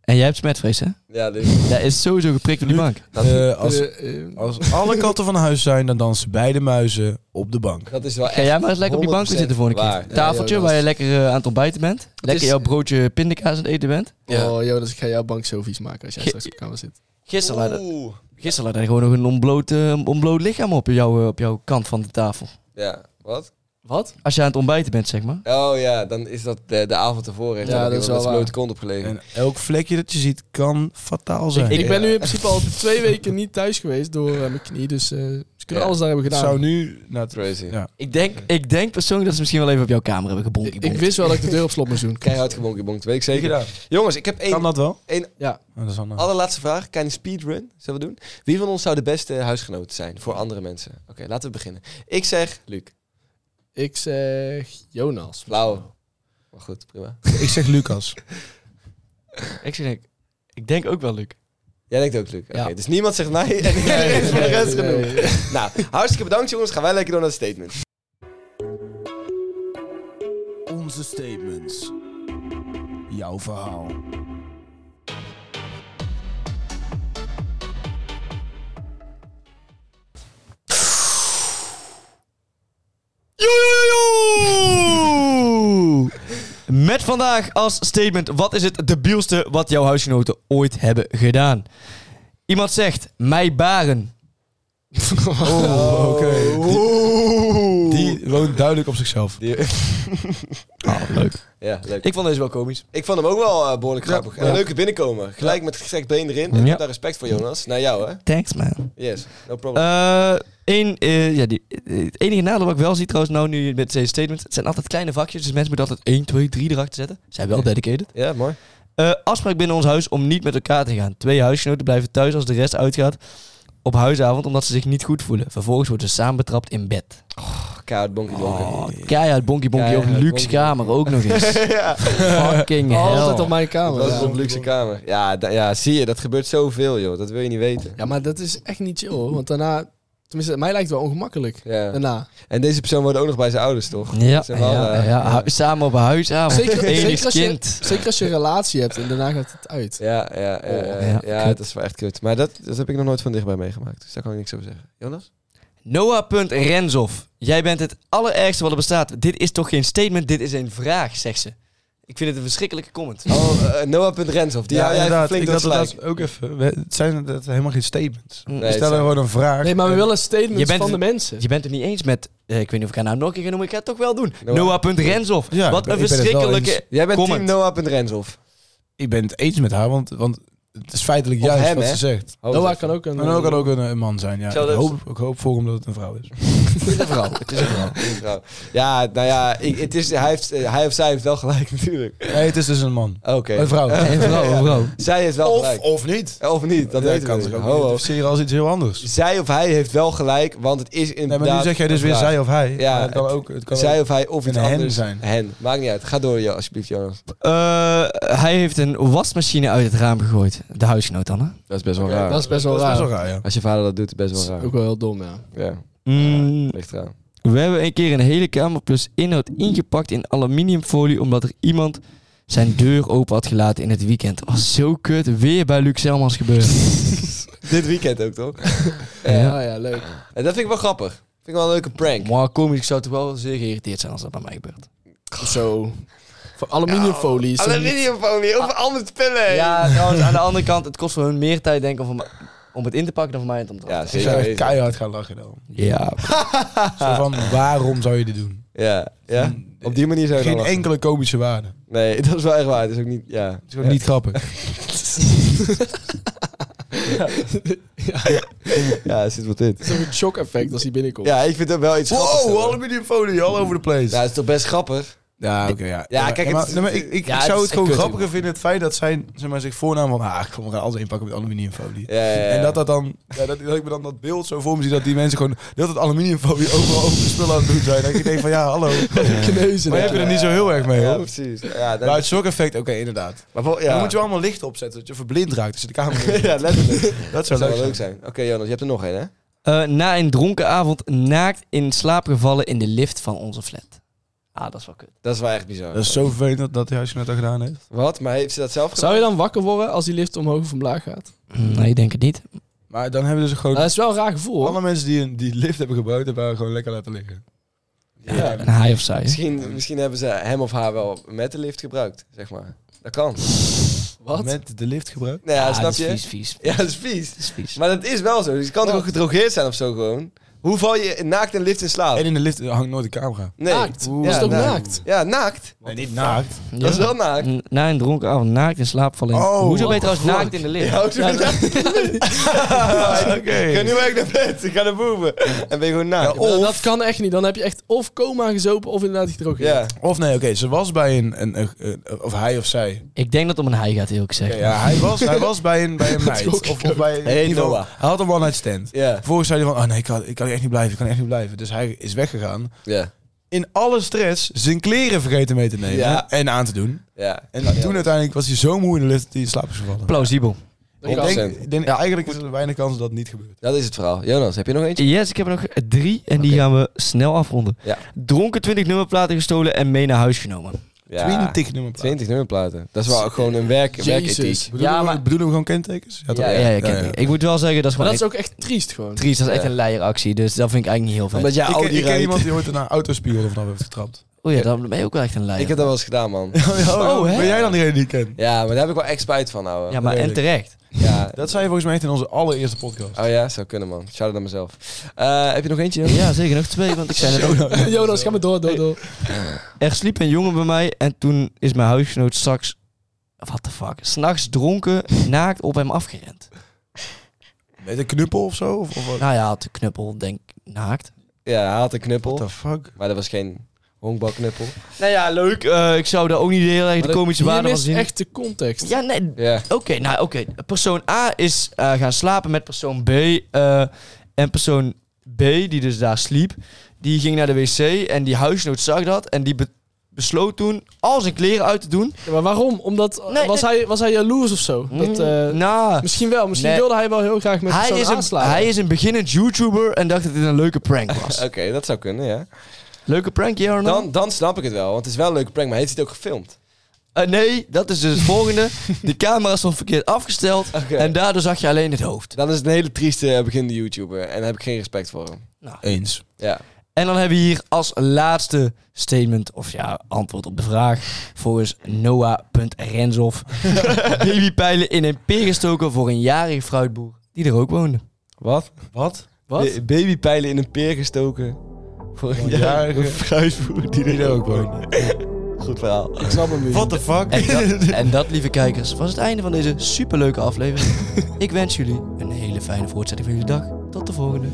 [SPEAKER 8] En jij hebt smetvrees, hè?
[SPEAKER 5] Ja, dus,
[SPEAKER 8] Jij is sowieso geprikt op die bank.
[SPEAKER 5] dat,
[SPEAKER 7] Eh, als,
[SPEAKER 6] Eh, eh,
[SPEAKER 7] als alle katten van huis zijn, dan dansen beide muizen op de bank.
[SPEAKER 5] dat is wel echt...
[SPEAKER 8] Ga jij maar eens lekker op die bank
[SPEAKER 5] 100%
[SPEAKER 8] zitten voor een
[SPEAKER 5] waar.
[SPEAKER 8] keer. Tafeltje
[SPEAKER 6] Ja, joh,
[SPEAKER 8] waar je lekker eh, aan het ontbijten bent. Lekker
[SPEAKER 5] is-
[SPEAKER 8] jouw broodje pindakaas aan het eten bent.
[SPEAKER 5] Ja.
[SPEAKER 6] Oh, joh, dus ik ga jouw bank zo vies maken als jij
[SPEAKER 8] Ge-
[SPEAKER 6] straks op de kamer zit.
[SPEAKER 8] Gisteren laat,
[SPEAKER 5] Oeh.
[SPEAKER 8] gisteren laat hij gewoon nog een onbloot, eh, onbloot lichaam op, jou, eh, op jouw kant van de tafel.
[SPEAKER 5] Ja, wat?
[SPEAKER 6] Wat?
[SPEAKER 8] Als je aan het ontbijten bent, zeg maar.
[SPEAKER 5] Oh ja, dan is dat de, de avond ervoor. heeft
[SPEAKER 6] Ja,
[SPEAKER 5] hij nog iemand
[SPEAKER 6] dat is wel
[SPEAKER 5] met zijn
[SPEAKER 6] waar.
[SPEAKER 5] blote kont opgelegen.
[SPEAKER 7] En elk vlekje dat je ziet kan fataal zijn.
[SPEAKER 6] Ik ben
[SPEAKER 5] Ja.
[SPEAKER 6] nu in principe al twee weken niet thuis geweest door eh, mijn knie, dus eh, ze kunnen
[SPEAKER 5] Ja.
[SPEAKER 6] alles daar hebben
[SPEAKER 7] het
[SPEAKER 6] gedaan.
[SPEAKER 7] zou nu... Nou, het-
[SPEAKER 5] Crazy.
[SPEAKER 7] Ja.
[SPEAKER 8] Ik denk, ik denk persoonlijk dat ze misschien wel even op jouw kamer hebben gebonken.
[SPEAKER 6] Ik, ik wist wel dat ik de deur op slot moest doen.
[SPEAKER 5] Keihard gebonkiebonkt, weet ik
[SPEAKER 7] Heb je
[SPEAKER 5] zeker.
[SPEAKER 7] gedaan?
[SPEAKER 5] Jongens, ik heb
[SPEAKER 7] Kan
[SPEAKER 5] één
[SPEAKER 7] dat wel?
[SPEAKER 5] één-
[SPEAKER 6] Ja.
[SPEAKER 7] Oh, dat is wel nou.
[SPEAKER 5] allerlaatste vraag. Kleine speedrun, zullen we doen? Wie van ons zou de beste huisgenoot zijn voor andere mensen? Oké, laten we beginnen. Ik zeg Luc.
[SPEAKER 6] Ik zeg Jonas.
[SPEAKER 5] Flauw. Maar goed, prima.
[SPEAKER 7] Ik zeg Lucas.
[SPEAKER 8] Ik zeg, ik, ik denk ook wel, Luc.
[SPEAKER 5] Jij denkt ook Luc. Oké,
[SPEAKER 8] Ja.
[SPEAKER 5] dus niemand zegt mij en iedereen is voor de rest
[SPEAKER 6] Nee,
[SPEAKER 5] genoeg.
[SPEAKER 6] nee.
[SPEAKER 5] Nou, hartstikke bedankt jongens. Gaan wij lekker door naar de statement.
[SPEAKER 7] Onze statements. Jouw verhaal.
[SPEAKER 8] Met vandaag als statement: wat is het debielste wat jouw huisgenoten ooit hebben gedaan? Iemand zegt: mij baren.
[SPEAKER 7] Oh, oké. Die, die woont duidelijk op zichzelf.
[SPEAKER 5] Die-
[SPEAKER 8] Oh, leuk.
[SPEAKER 5] Ja, leuk.
[SPEAKER 8] Ik vond deze wel komisch.
[SPEAKER 5] Ik vond hem ook wel eh, behoorlijk grappig. En
[SPEAKER 7] ja.
[SPEAKER 5] Een leuke binnenkomen. Gelijk met gestrekt been erin. Ik
[SPEAKER 8] Ja.
[SPEAKER 5] heb daar respect voor, Jonas. Naar jou, hè?
[SPEAKER 8] Thanks, man.
[SPEAKER 5] Yes, no problem.
[SPEAKER 8] Eh Eén, eh, ja, die, eh, het enige nadeel wat ik wel zie trouwens nou nu met deze statement, het zijn altijd kleine vakjes, dus mensen moeten altijd 1, 2, 3 erachter zetten. Zijn wel dedicated.
[SPEAKER 5] ja, mooi.
[SPEAKER 8] Eh, afspraak binnen ons huis om niet met elkaar te gaan. Twee huisgenoten blijven thuis als de rest uitgaat op huisavond omdat ze zich niet goed voelen. Vervolgens worden ze samen betrapt in bed.
[SPEAKER 5] Kaart, bonkie, bonkie.
[SPEAKER 8] Oh, keihard bonkie bonkie op
[SPEAKER 5] Keihard
[SPEAKER 8] luxe
[SPEAKER 5] bonkie.
[SPEAKER 8] kamer ook nog eens.
[SPEAKER 5] ja.
[SPEAKER 8] Fucking
[SPEAKER 6] Altijd
[SPEAKER 8] hell.
[SPEAKER 6] op mijn kamer.
[SPEAKER 5] Dat is
[SPEAKER 6] Ja.
[SPEAKER 5] op luxe kamer. Ja, da- ja, zie je, dat gebeurt zoveel, joh. Dat wil je niet weten.
[SPEAKER 6] Ja, maar dat is echt niet chill hoor. Want daarna, tenminste, mij lijkt het wel ongemakkelijk.
[SPEAKER 5] Ja.
[SPEAKER 6] Daarna.
[SPEAKER 5] En deze persoon woont ook nog bij zijn ouders, toch?
[SPEAKER 8] Ja,
[SPEAKER 5] Dat zijn
[SPEAKER 8] ja,
[SPEAKER 5] wel,
[SPEAKER 8] ja, Ah,
[SPEAKER 5] eh,
[SPEAKER 8] hu- samen op een huisavond.
[SPEAKER 6] Zeker-
[SPEAKER 8] Enig
[SPEAKER 6] zeker als je-
[SPEAKER 8] kind.
[SPEAKER 6] Zeker als je een relatie hebt en daarna gaat het uit.
[SPEAKER 5] Ja, ja, ja, ja,
[SPEAKER 8] Oh, ja,
[SPEAKER 5] ja,
[SPEAKER 8] kut.
[SPEAKER 5] dat is wel echt kut. Maar dat, dat heb ik nog nooit van dichtbij meegemaakt. Dus daar kan ik niks over zeggen. Jonas?
[SPEAKER 8] Noah.Renzoff. Jij bent het allerergste wat er bestaat. Dit is toch geen statement, dit is een vraag, zegt ze. Ik vind het een verschrikkelijke comment.
[SPEAKER 5] Oh, eh, Noah.Renshoff. Die hou jij
[SPEAKER 7] inderdaad.
[SPEAKER 5] flink
[SPEAKER 7] Ik
[SPEAKER 5] door het
[SPEAKER 7] dacht
[SPEAKER 5] slijk.
[SPEAKER 7] dat ook even. We- het zijn dat helemaal geen statements.
[SPEAKER 8] Nee,
[SPEAKER 7] we
[SPEAKER 5] het
[SPEAKER 7] stellen
[SPEAKER 5] zijn-
[SPEAKER 7] gewoon een vraag.
[SPEAKER 6] Nee, maar we
[SPEAKER 7] En-
[SPEAKER 6] willen statements
[SPEAKER 8] Je bent-
[SPEAKER 6] van de mensen.
[SPEAKER 8] Je bent het niet eens met... eh, ik weet niet of ik haar nou nog een keer ga noemen, ik ga het toch wel doen.
[SPEAKER 5] Noah.
[SPEAKER 8] Noah.Renzoff.
[SPEAKER 7] Ja,
[SPEAKER 8] Wat
[SPEAKER 7] ik ben-
[SPEAKER 8] een
[SPEAKER 7] ik ben het wel
[SPEAKER 8] verschrikkelijke...
[SPEAKER 5] Jij bent
[SPEAKER 8] comment.
[SPEAKER 5] team Noah.Renshoff.
[SPEAKER 7] Ik ben het eens met haar, want, want het is feitelijk
[SPEAKER 5] Of
[SPEAKER 7] juist
[SPEAKER 5] hem,
[SPEAKER 7] wat
[SPEAKER 5] hè?
[SPEAKER 7] ze zegt.
[SPEAKER 6] Noah kan ook een...
[SPEAKER 7] Oh, Maar ook kan ook een, eh, man zijn, ja.
[SPEAKER 5] Zelfde-
[SPEAKER 7] Ik hoop, ik hoop voor hem dat het een vrouw is.
[SPEAKER 5] Het is een vrouw. Het is een vrouw. Ja, nou ja, ik, het is, hij, heeft, eh, hij of zij heeft wel gelijk natuurlijk.
[SPEAKER 7] Nee, het is dus een man.
[SPEAKER 5] Oké.
[SPEAKER 7] Een vrouw.
[SPEAKER 8] En vrouw, een vrouw.
[SPEAKER 5] Zij heeft wel gelijk.
[SPEAKER 7] of niet.
[SPEAKER 5] Of niet, dat
[SPEAKER 7] Dat
[SPEAKER 5] weten we dus
[SPEAKER 7] kan
[SPEAKER 5] niet.
[SPEAKER 7] zich ook
[SPEAKER 5] Ho, ho.
[SPEAKER 7] identificeren als iets heel anders.
[SPEAKER 5] Zij of hij heeft wel gelijk, want het is
[SPEAKER 7] Nee,
[SPEAKER 5] inderdaad...
[SPEAKER 7] maar nu zeg jij dus
[SPEAKER 5] een
[SPEAKER 7] weer
[SPEAKER 5] vraag.
[SPEAKER 7] zij of hij.
[SPEAKER 5] Ja,
[SPEAKER 7] Ja, het kan
[SPEAKER 5] het-
[SPEAKER 7] ook. Het kan
[SPEAKER 5] zij
[SPEAKER 7] ook.
[SPEAKER 5] of hij of
[SPEAKER 7] En
[SPEAKER 5] iets
[SPEAKER 7] hen
[SPEAKER 5] anders.
[SPEAKER 7] zijn.
[SPEAKER 5] Hen. Maakt niet uit. Ga door, Jo, alsjeblieft, Jonas.
[SPEAKER 8] Eh, hij heeft een wasmachine uit het raam gegooid. De huisgenoot dan, hè?
[SPEAKER 5] Dat is best wel
[SPEAKER 6] Dat is best wel
[SPEAKER 7] Dat is
[SPEAKER 6] raar.
[SPEAKER 7] best wel raar, ja.
[SPEAKER 5] Als je vader dat doet, is best
[SPEAKER 6] Dat
[SPEAKER 5] wel
[SPEAKER 6] is
[SPEAKER 5] raar.
[SPEAKER 6] ook wel heel dom, ja.
[SPEAKER 5] Ja,
[SPEAKER 8] Mm,
[SPEAKER 5] ligt eraan.
[SPEAKER 8] we hebben een keer een hele kamer plus inhoud ingepakt in aluminiumfolie... omdat er iemand zijn deur open had gelaten in het weekend. Was zo kut. Weer bij Luc Selmans gebeurd.
[SPEAKER 5] Dit weekend ook, toch?
[SPEAKER 8] Ja.
[SPEAKER 6] Ja, ja, leuk.
[SPEAKER 5] En dat vind ik wel grappig. Vind ik wel een leuke prank.
[SPEAKER 8] Maar komisch, ik zou toch wel zeer geïrriteerd zijn als dat bij mij gebeurt.
[SPEAKER 6] Zo. Voor aluminiumfolie is dat niet-
[SPEAKER 5] Aluminiumfolie, over andere spullen.
[SPEAKER 8] Ja,
[SPEAKER 5] nou-
[SPEAKER 8] trouwens, aan de andere kant, het kost voor hun meer tijd denk ik, om, om het in te pakken dan voor mij het om te
[SPEAKER 5] ja
[SPEAKER 7] Ik
[SPEAKER 5] zeker.
[SPEAKER 7] zou echt
[SPEAKER 5] weten.
[SPEAKER 7] keihard gaan lachen dan.
[SPEAKER 8] Ja.
[SPEAKER 7] Zo van, waarom zou je dit doen?
[SPEAKER 5] Ja, ja. Op die manier zou je
[SPEAKER 7] Geen
[SPEAKER 5] dan lachen.
[SPEAKER 7] enkele komische waarde. Het
[SPEAKER 5] Nee, dat is wel echt waar. Het is ook niet... Ja.
[SPEAKER 7] is gewoon niet grappig.
[SPEAKER 5] Ja, er zit wat in.
[SPEAKER 6] Het is ook een shock-effect als hij binnenkomt.
[SPEAKER 5] Ja, ik vind dat wel iets grappigs.
[SPEAKER 7] Wow, aluminiumfolie all over the place.
[SPEAKER 5] Ja, dat is toch best grappig?
[SPEAKER 7] Ja, oké, ja.
[SPEAKER 5] Ja, kijk,
[SPEAKER 7] maar,
[SPEAKER 5] het-
[SPEAKER 7] nee, maar ik, ik,
[SPEAKER 5] ja,
[SPEAKER 7] ik
[SPEAKER 5] het
[SPEAKER 7] zou
[SPEAKER 5] is
[SPEAKER 7] het gewoon
[SPEAKER 5] geen kut
[SPEAKER 7] grappiger vinden, het feit dat zij zeg maar, zich voornaam van... Ah, ik ga alles inpakken met aluminiumfolie.
[SPEAKER 5] Ja, ja, ja.
[SPEAKER 7] En dat, dat, dan, ja, dat, dat ik me dan dat beeld zo voor me zie dat die mensen gewoon... Dat het aluminiumfolie overal over de spullen aan het doen zijn. Dat ik denk van, ja, hallo.
[SPEAKER 6] Kneuzen.
[SPEAKER 7] Maar je hebt er niet zo heel erg mee,
[SPEAKER 5] Ja,
[SPEAKER 7] hoor.
[SPEAKER 5] precies. Ja, dat-
[SPEAKER 7] Maar het shock-effect, oké, inderdaad.
[SPEAKER 5] maar vol- ja.
[SPEAKER 7] Dan moet je wel allemaal licht opzetten, dat je verblind raakt als je de camera... in-
[SPEAKER 5] ja, letterlijk.
[SPEAKER 7] Dat zou
[SPEAKER 5] Dat zou
[SPEAKER 7] leuk
[SPEAKER 5] wel
[SPEAKER 7] zijn.
[SPEAKER 5] leuk zijn. Oké, Jonas, je hebt er nog één, hè?
[SPEAKER 8] Eh, na een dronken avond naakt in slaap gevallen in de lift van onze flat. Ah, dat is wel kut.
[SPEAKER 5] Dat is wel echt bizar.
[SPEAKER 7] Dat is zo vervelend dat, dat hij huisgenoot dat gedaan heeft.
[SPEAKER 5] Wat? Maar heeft ze dat zelf gedaan?
[SPEAKER 6] Zou je dan wakker worden als die lift omhoog of omlaag gaat?
[SPEAKER 8] Mm, Nee, ik denk het niet.
[SPEAKER 7] Maar dan hebben ze gewoon...
[SPEAKER 6] Dat is wel een raar gevoel, hoor.
[SPEAKER 7] alle mensen die een- die lift hebben gebruikt, hebben haar gewoon lekker laten liggen.
[SPEAKER 5] Ja.
[SPEAKER 8] Een haai of zij.
[SPEAKER 5] Misschien, misschien hebben ze hem of haar wel met de lift gebruikt, zeg maar. Dat kan.
[SPEAKER 6] Wat?
[SPEAKER 7] Met de lift gebruikt.
[SPEAKER 5] Nou ja,
[SPEAKER 8] Ah,
[SPEAKER 5] snap
[SPEAKER 8] dat
[SPEAKER 5] je?
[SPEAKER 8] is vies, vies.
[SPEAKER 5] Ja, dat is vies.
[SPEAKER 8] Dat is vies.
[SPEAKER 5] Maar dat is wel zo. Dus je kan toch ook gedrogeerd zijn of zo gewoon? Hoe val je naakt in de lift in slaap?
[SPEAKER 7] En in de lift hangt nooit een camera.
[SPEAKER 5] Nee.
[SPEAKER 6] Naakt.
[SPEAKER 5] Oeh.
[SPEAKER 6] Dat is
[SPEAKER 5] Ja,
[SPEAKER 6] toch
[SPEAKER 5] nou.
[SPEAKER 6] naakt?
[SPEAKER 5] Ja, naakt.
[SPEAKER 7] Nee, niet naakt.
[SPEAKER 5] Dat is
[SPEAKER 8] Ja.
[SPEAKER 5] wel naakt.
[SPEAKER 8] N- Na een dronken avond naakt in slaap vallen. in-
[SPEAKER 7] Oh,
[SPEAKER 8] Hoezo ben je
[SPEAKER 7] what
[SPEAKER 8] trouwens naakt in de lift?
[SPEAKER 5] Ja, ook zo
[SPEAKER 8] Ja,
[SPEAKER 5] naakt.
[SPEAKER 7] Oké.
[SPEAKER 5] Ik ga nu werk naar bed. Ik ga naar boven. En ben je gewoon naakt.
[SPEAKER 6] Ja, oh. Dat kan echt niet. Dan heb je echt of coma gezopen of inderdaad gedrogeerd.
[SPEAKER 5] Ja.
[SPEAKER 7] Of nee, oké, ze was bij een, een, een- een- of hij of zij.
[SPEAKER 8] Ik denk dat het om een haai gaat, heel gezegd.
[SPEAKER 7] Oké, ja, hij was, hij was bij een, bij een meid.
[SPEAKER 6] schrok
[SPEAKER 7] Of,
[SPEAKER 6] ik
[SPEAKER 7] of bij in
[SPEAKER 5] Hey,
[SPEAKER 7] ieder geval-
[SPEAKER 5] Noah.
[SPEAKER 7] Hij had een one night stand.
[SPEAKER 5] Ja.
[SPEAKER 7] Vervolgens zei hij van, oh nee, ik kan, ik kan echt niet blijven, ik kan echt niet blijven. Dus hij is weggegaan.
[SPEAKER 5] Ja.
[SPEAKER 7] In alle stress zijn kleren vergeten mee te nemen
[SPEAKER 5] Ja.
[SPEAKER 7] en aan te doen.
[SPEAKER 5] Ja.
[SPEAKER 7] En
[SPEAKER 5] Kan niet
[SPEAKER 7] toen
[SPEAKER 5] anders.
[SPEAKER 7] uiteindelijk was hij zo moe in de lift dat hij in slaap is gevallen.
[SPEAKER 8] Plausibel.
[SPEAKER 6] Dat
[SPEAKER 7] Ik
[SPEAKER 6] kan.
[SPEAKER 7] denk, ik denk, eigenlijk is er weinig kans dat het niet gebeurt.
[SPEAKER 5] Dat is het verhaal. Jonas, heb je nog eentje?
[SPEAKER 8] Yes, ik heb er nog drie en die
[SPEAKER 5] Oké.
[SPEAKER 8] gaan we snel afronden.
[SPEAKER 5] Ja.
[SPEAKER 8] Dronken 20 nummerplaten gestolen en mee naar huis genomen.
[SPEAKER 5] Ja.
[SPEAKER 7] 20 nummer.
[SPEAKER 5] 20 nummerplaten. Dat is wel ook gewoon een werk,
[SPEAKER 6] Jezus.
[SPEAKER 5] werkethiek.
[SPEAKER 7] Bedoelen,
[SPEAKER 8] Ja,
[SPEAKER 7] we-
[SPEAKER 8] maar-
[SPEAKER 7] bedoelen we gewoon kentekens?
[SPEAKER 5] Ja,
[SPEAKER 7] toch?
[SPEAKER 8] Ja, ja, ik, ken die. ik moet wel zeggen, dat is
[SPEAKER 6] Maar
[SPEAKER 8] gewoon
[SPEAKER 6] dat is
[SPEAKER 8] echt
[SPEAKER 6] ook echt triest gewoon.
[SPEAKER 8] triest. Dat is echt
[SPEAKER 5] Ja.
[SPEAKER 8] een leieractie, dus dat vind ik eigenlijk niet heel vet.
[SPEAKER 5] Omdat jij
[SPEAKER 7] Ik,
[SPEAKER 5] Audi
[SPEAKER 7] ken- ik ken
[SPEAKER 5] rijdt.
[SPEAKER 7] iemand die ooit een autospiegel vanaf heeft getrapt.
[SPEAKER 8] Oh ja, dan ben je ook wel echt een leier.
[SPEAKER 5] Ik heb dat wel eens gedaan, man.
[SPEAKER 8] Oh, hè?
[SPEAKER 7] ben jij dan diegene die ik ken?
[SPEAKER 5] Ja, maar daar heb ik wel echt spijt van, ouwe.
[SPEAKER 8] ja, maar en
[SPEAKER 7] redelijk.
[SPEAKER 8] terecht.
[SPEAKER 5] Ja.
[SPEAKER 7] Dat zei je volgens mij echt in onze allereerste podcast.
[SPEAKER 5] Oh ja, zou kunnen, man. Shout-out naar mezelf. Eh, heb je nog eentje? Jonas?
[SPEAKER 8] Ja, zeker nog twee, want ik zei net ook.
[SPEAKER 6] Jonas, ga maar door, door, door.
[SPEAKER 8] Er sliep een jongen bij mij en toen is mijn huisgenoot straks... What the fuck? S'nachts dronken, naakt op hem afgerend.
[SPEAKER 7] Met een knuppel of zo? Of, of wat?
[SPEAKER 8] Nou ja, had de knuppel, denk ik, naakt.
[SPEAKER 5] Ja, hij had een
[SPEAKER 7] What
[SPEAKER 5] knuppel.
[SPEAKER 7] the fuck?
[SPEAKER 5] Maar dat was geen honkbalknuppel.
[SPEAKER 8] Nou ja, leuk. Eh, ik zou daar ook niet heel erg de
[SPEAKER 6] Maar dat-
[SPEAKER 8] komische
[SPEAKER 6] hier
[SPEAKER 8] waarde van
[SPEAKER 6] mist
[SPEAKER 8] zien.
[SPEAKER 6] echt de context.
[SPEAKER 8] Ja, nee. Oké,
[SPEAKER 5] Ja.
[SPEAKER 8] nou oké. Persoon A is eh, gaan slapen met persoon B. eh, en persoon B, die dus daar sliep, die ging naar de wc en die huisgenoot zag dat. En die be- besloot toen al zijn kleren uit te doen.
[SPEAKER 6] Ja, maar waarom? Omdat,
[SPEAKER 8] Nee,
[SPEAKER 6] was,
[SPEAKER 8] nee.
[SPEAKER 6] Hij, was hij jaloers of zo? Dat, eh,
[SPEAKER 8] nou,
[SPEAKER 6] misschien wel. Misschien
[SPEAKER 8] Nee.
[SPEAKER 6] wilde hij wel heel graag met
[SPEAKER 8] hij
[SPEAKER 6] zo'n
[SPEAKER 8] is, een,
[SPEAKER 6] aanslaan.
[SPEAKER 8] hij is een beginnend YouTuber en dacht dat dit een leuke prank was.
[SPEAKER 5] Oké, dat zou kunnen, ja.
[SPEAKER 8] leuke prank, ja of
[SPEAKER 5] Dan, dan snap ik het wel, want het is wel een leuke prank, maar heeft hij het ook gefilmd?
[SPEAKER 8] Eh, nee, dat is dus het volgende. De camera stond verkeerd afgesteld
[SPEAKER 5] Oké.
[SPEAKER 8] en daardoor zag je alleen het hoofd.
[SPEAKER 5] Dan is het een hele trieste eh, beginnende YouTuber en daar heb ik geen respect voor hem.
[SPEAKER 8] Nou.
[SPEAKER 7] Eens.
[SPEAKER 5] Ja.
[SPEAKER 8] En dan hebben we hier als laatste statement, of ja, antwoord op de vraag, volgens Noah.Renzoff. Babypijlen in een peer gestoken voor een jarige fruitboer die er ook woonde.
[SPEAKER 5] Wat? Eh, Wat? Wat? Babypijlen in een peer gestoken. Voor een
[SPEAKER 7] jarige
[SPEAKER 5] fruitboer die
[SPEAKER 7] Die
[SPEAKER 5] er
[SPEAKER 7] er ook
[SPEAKER 5] ook
[SPEAKER 7] woont.
[SPEAKER 8] Goed verhaal.
[SPEAKER 7] Ik snap hem niet.
[SPEAKER 1] What the fuck?
[SPEAKER 8] En dat, en dat, lieve kijkers, was het einde van deze superleuke aflevering. Ik wens jullie een hele fijne voortzetting van jullie dag. Tot de volgende.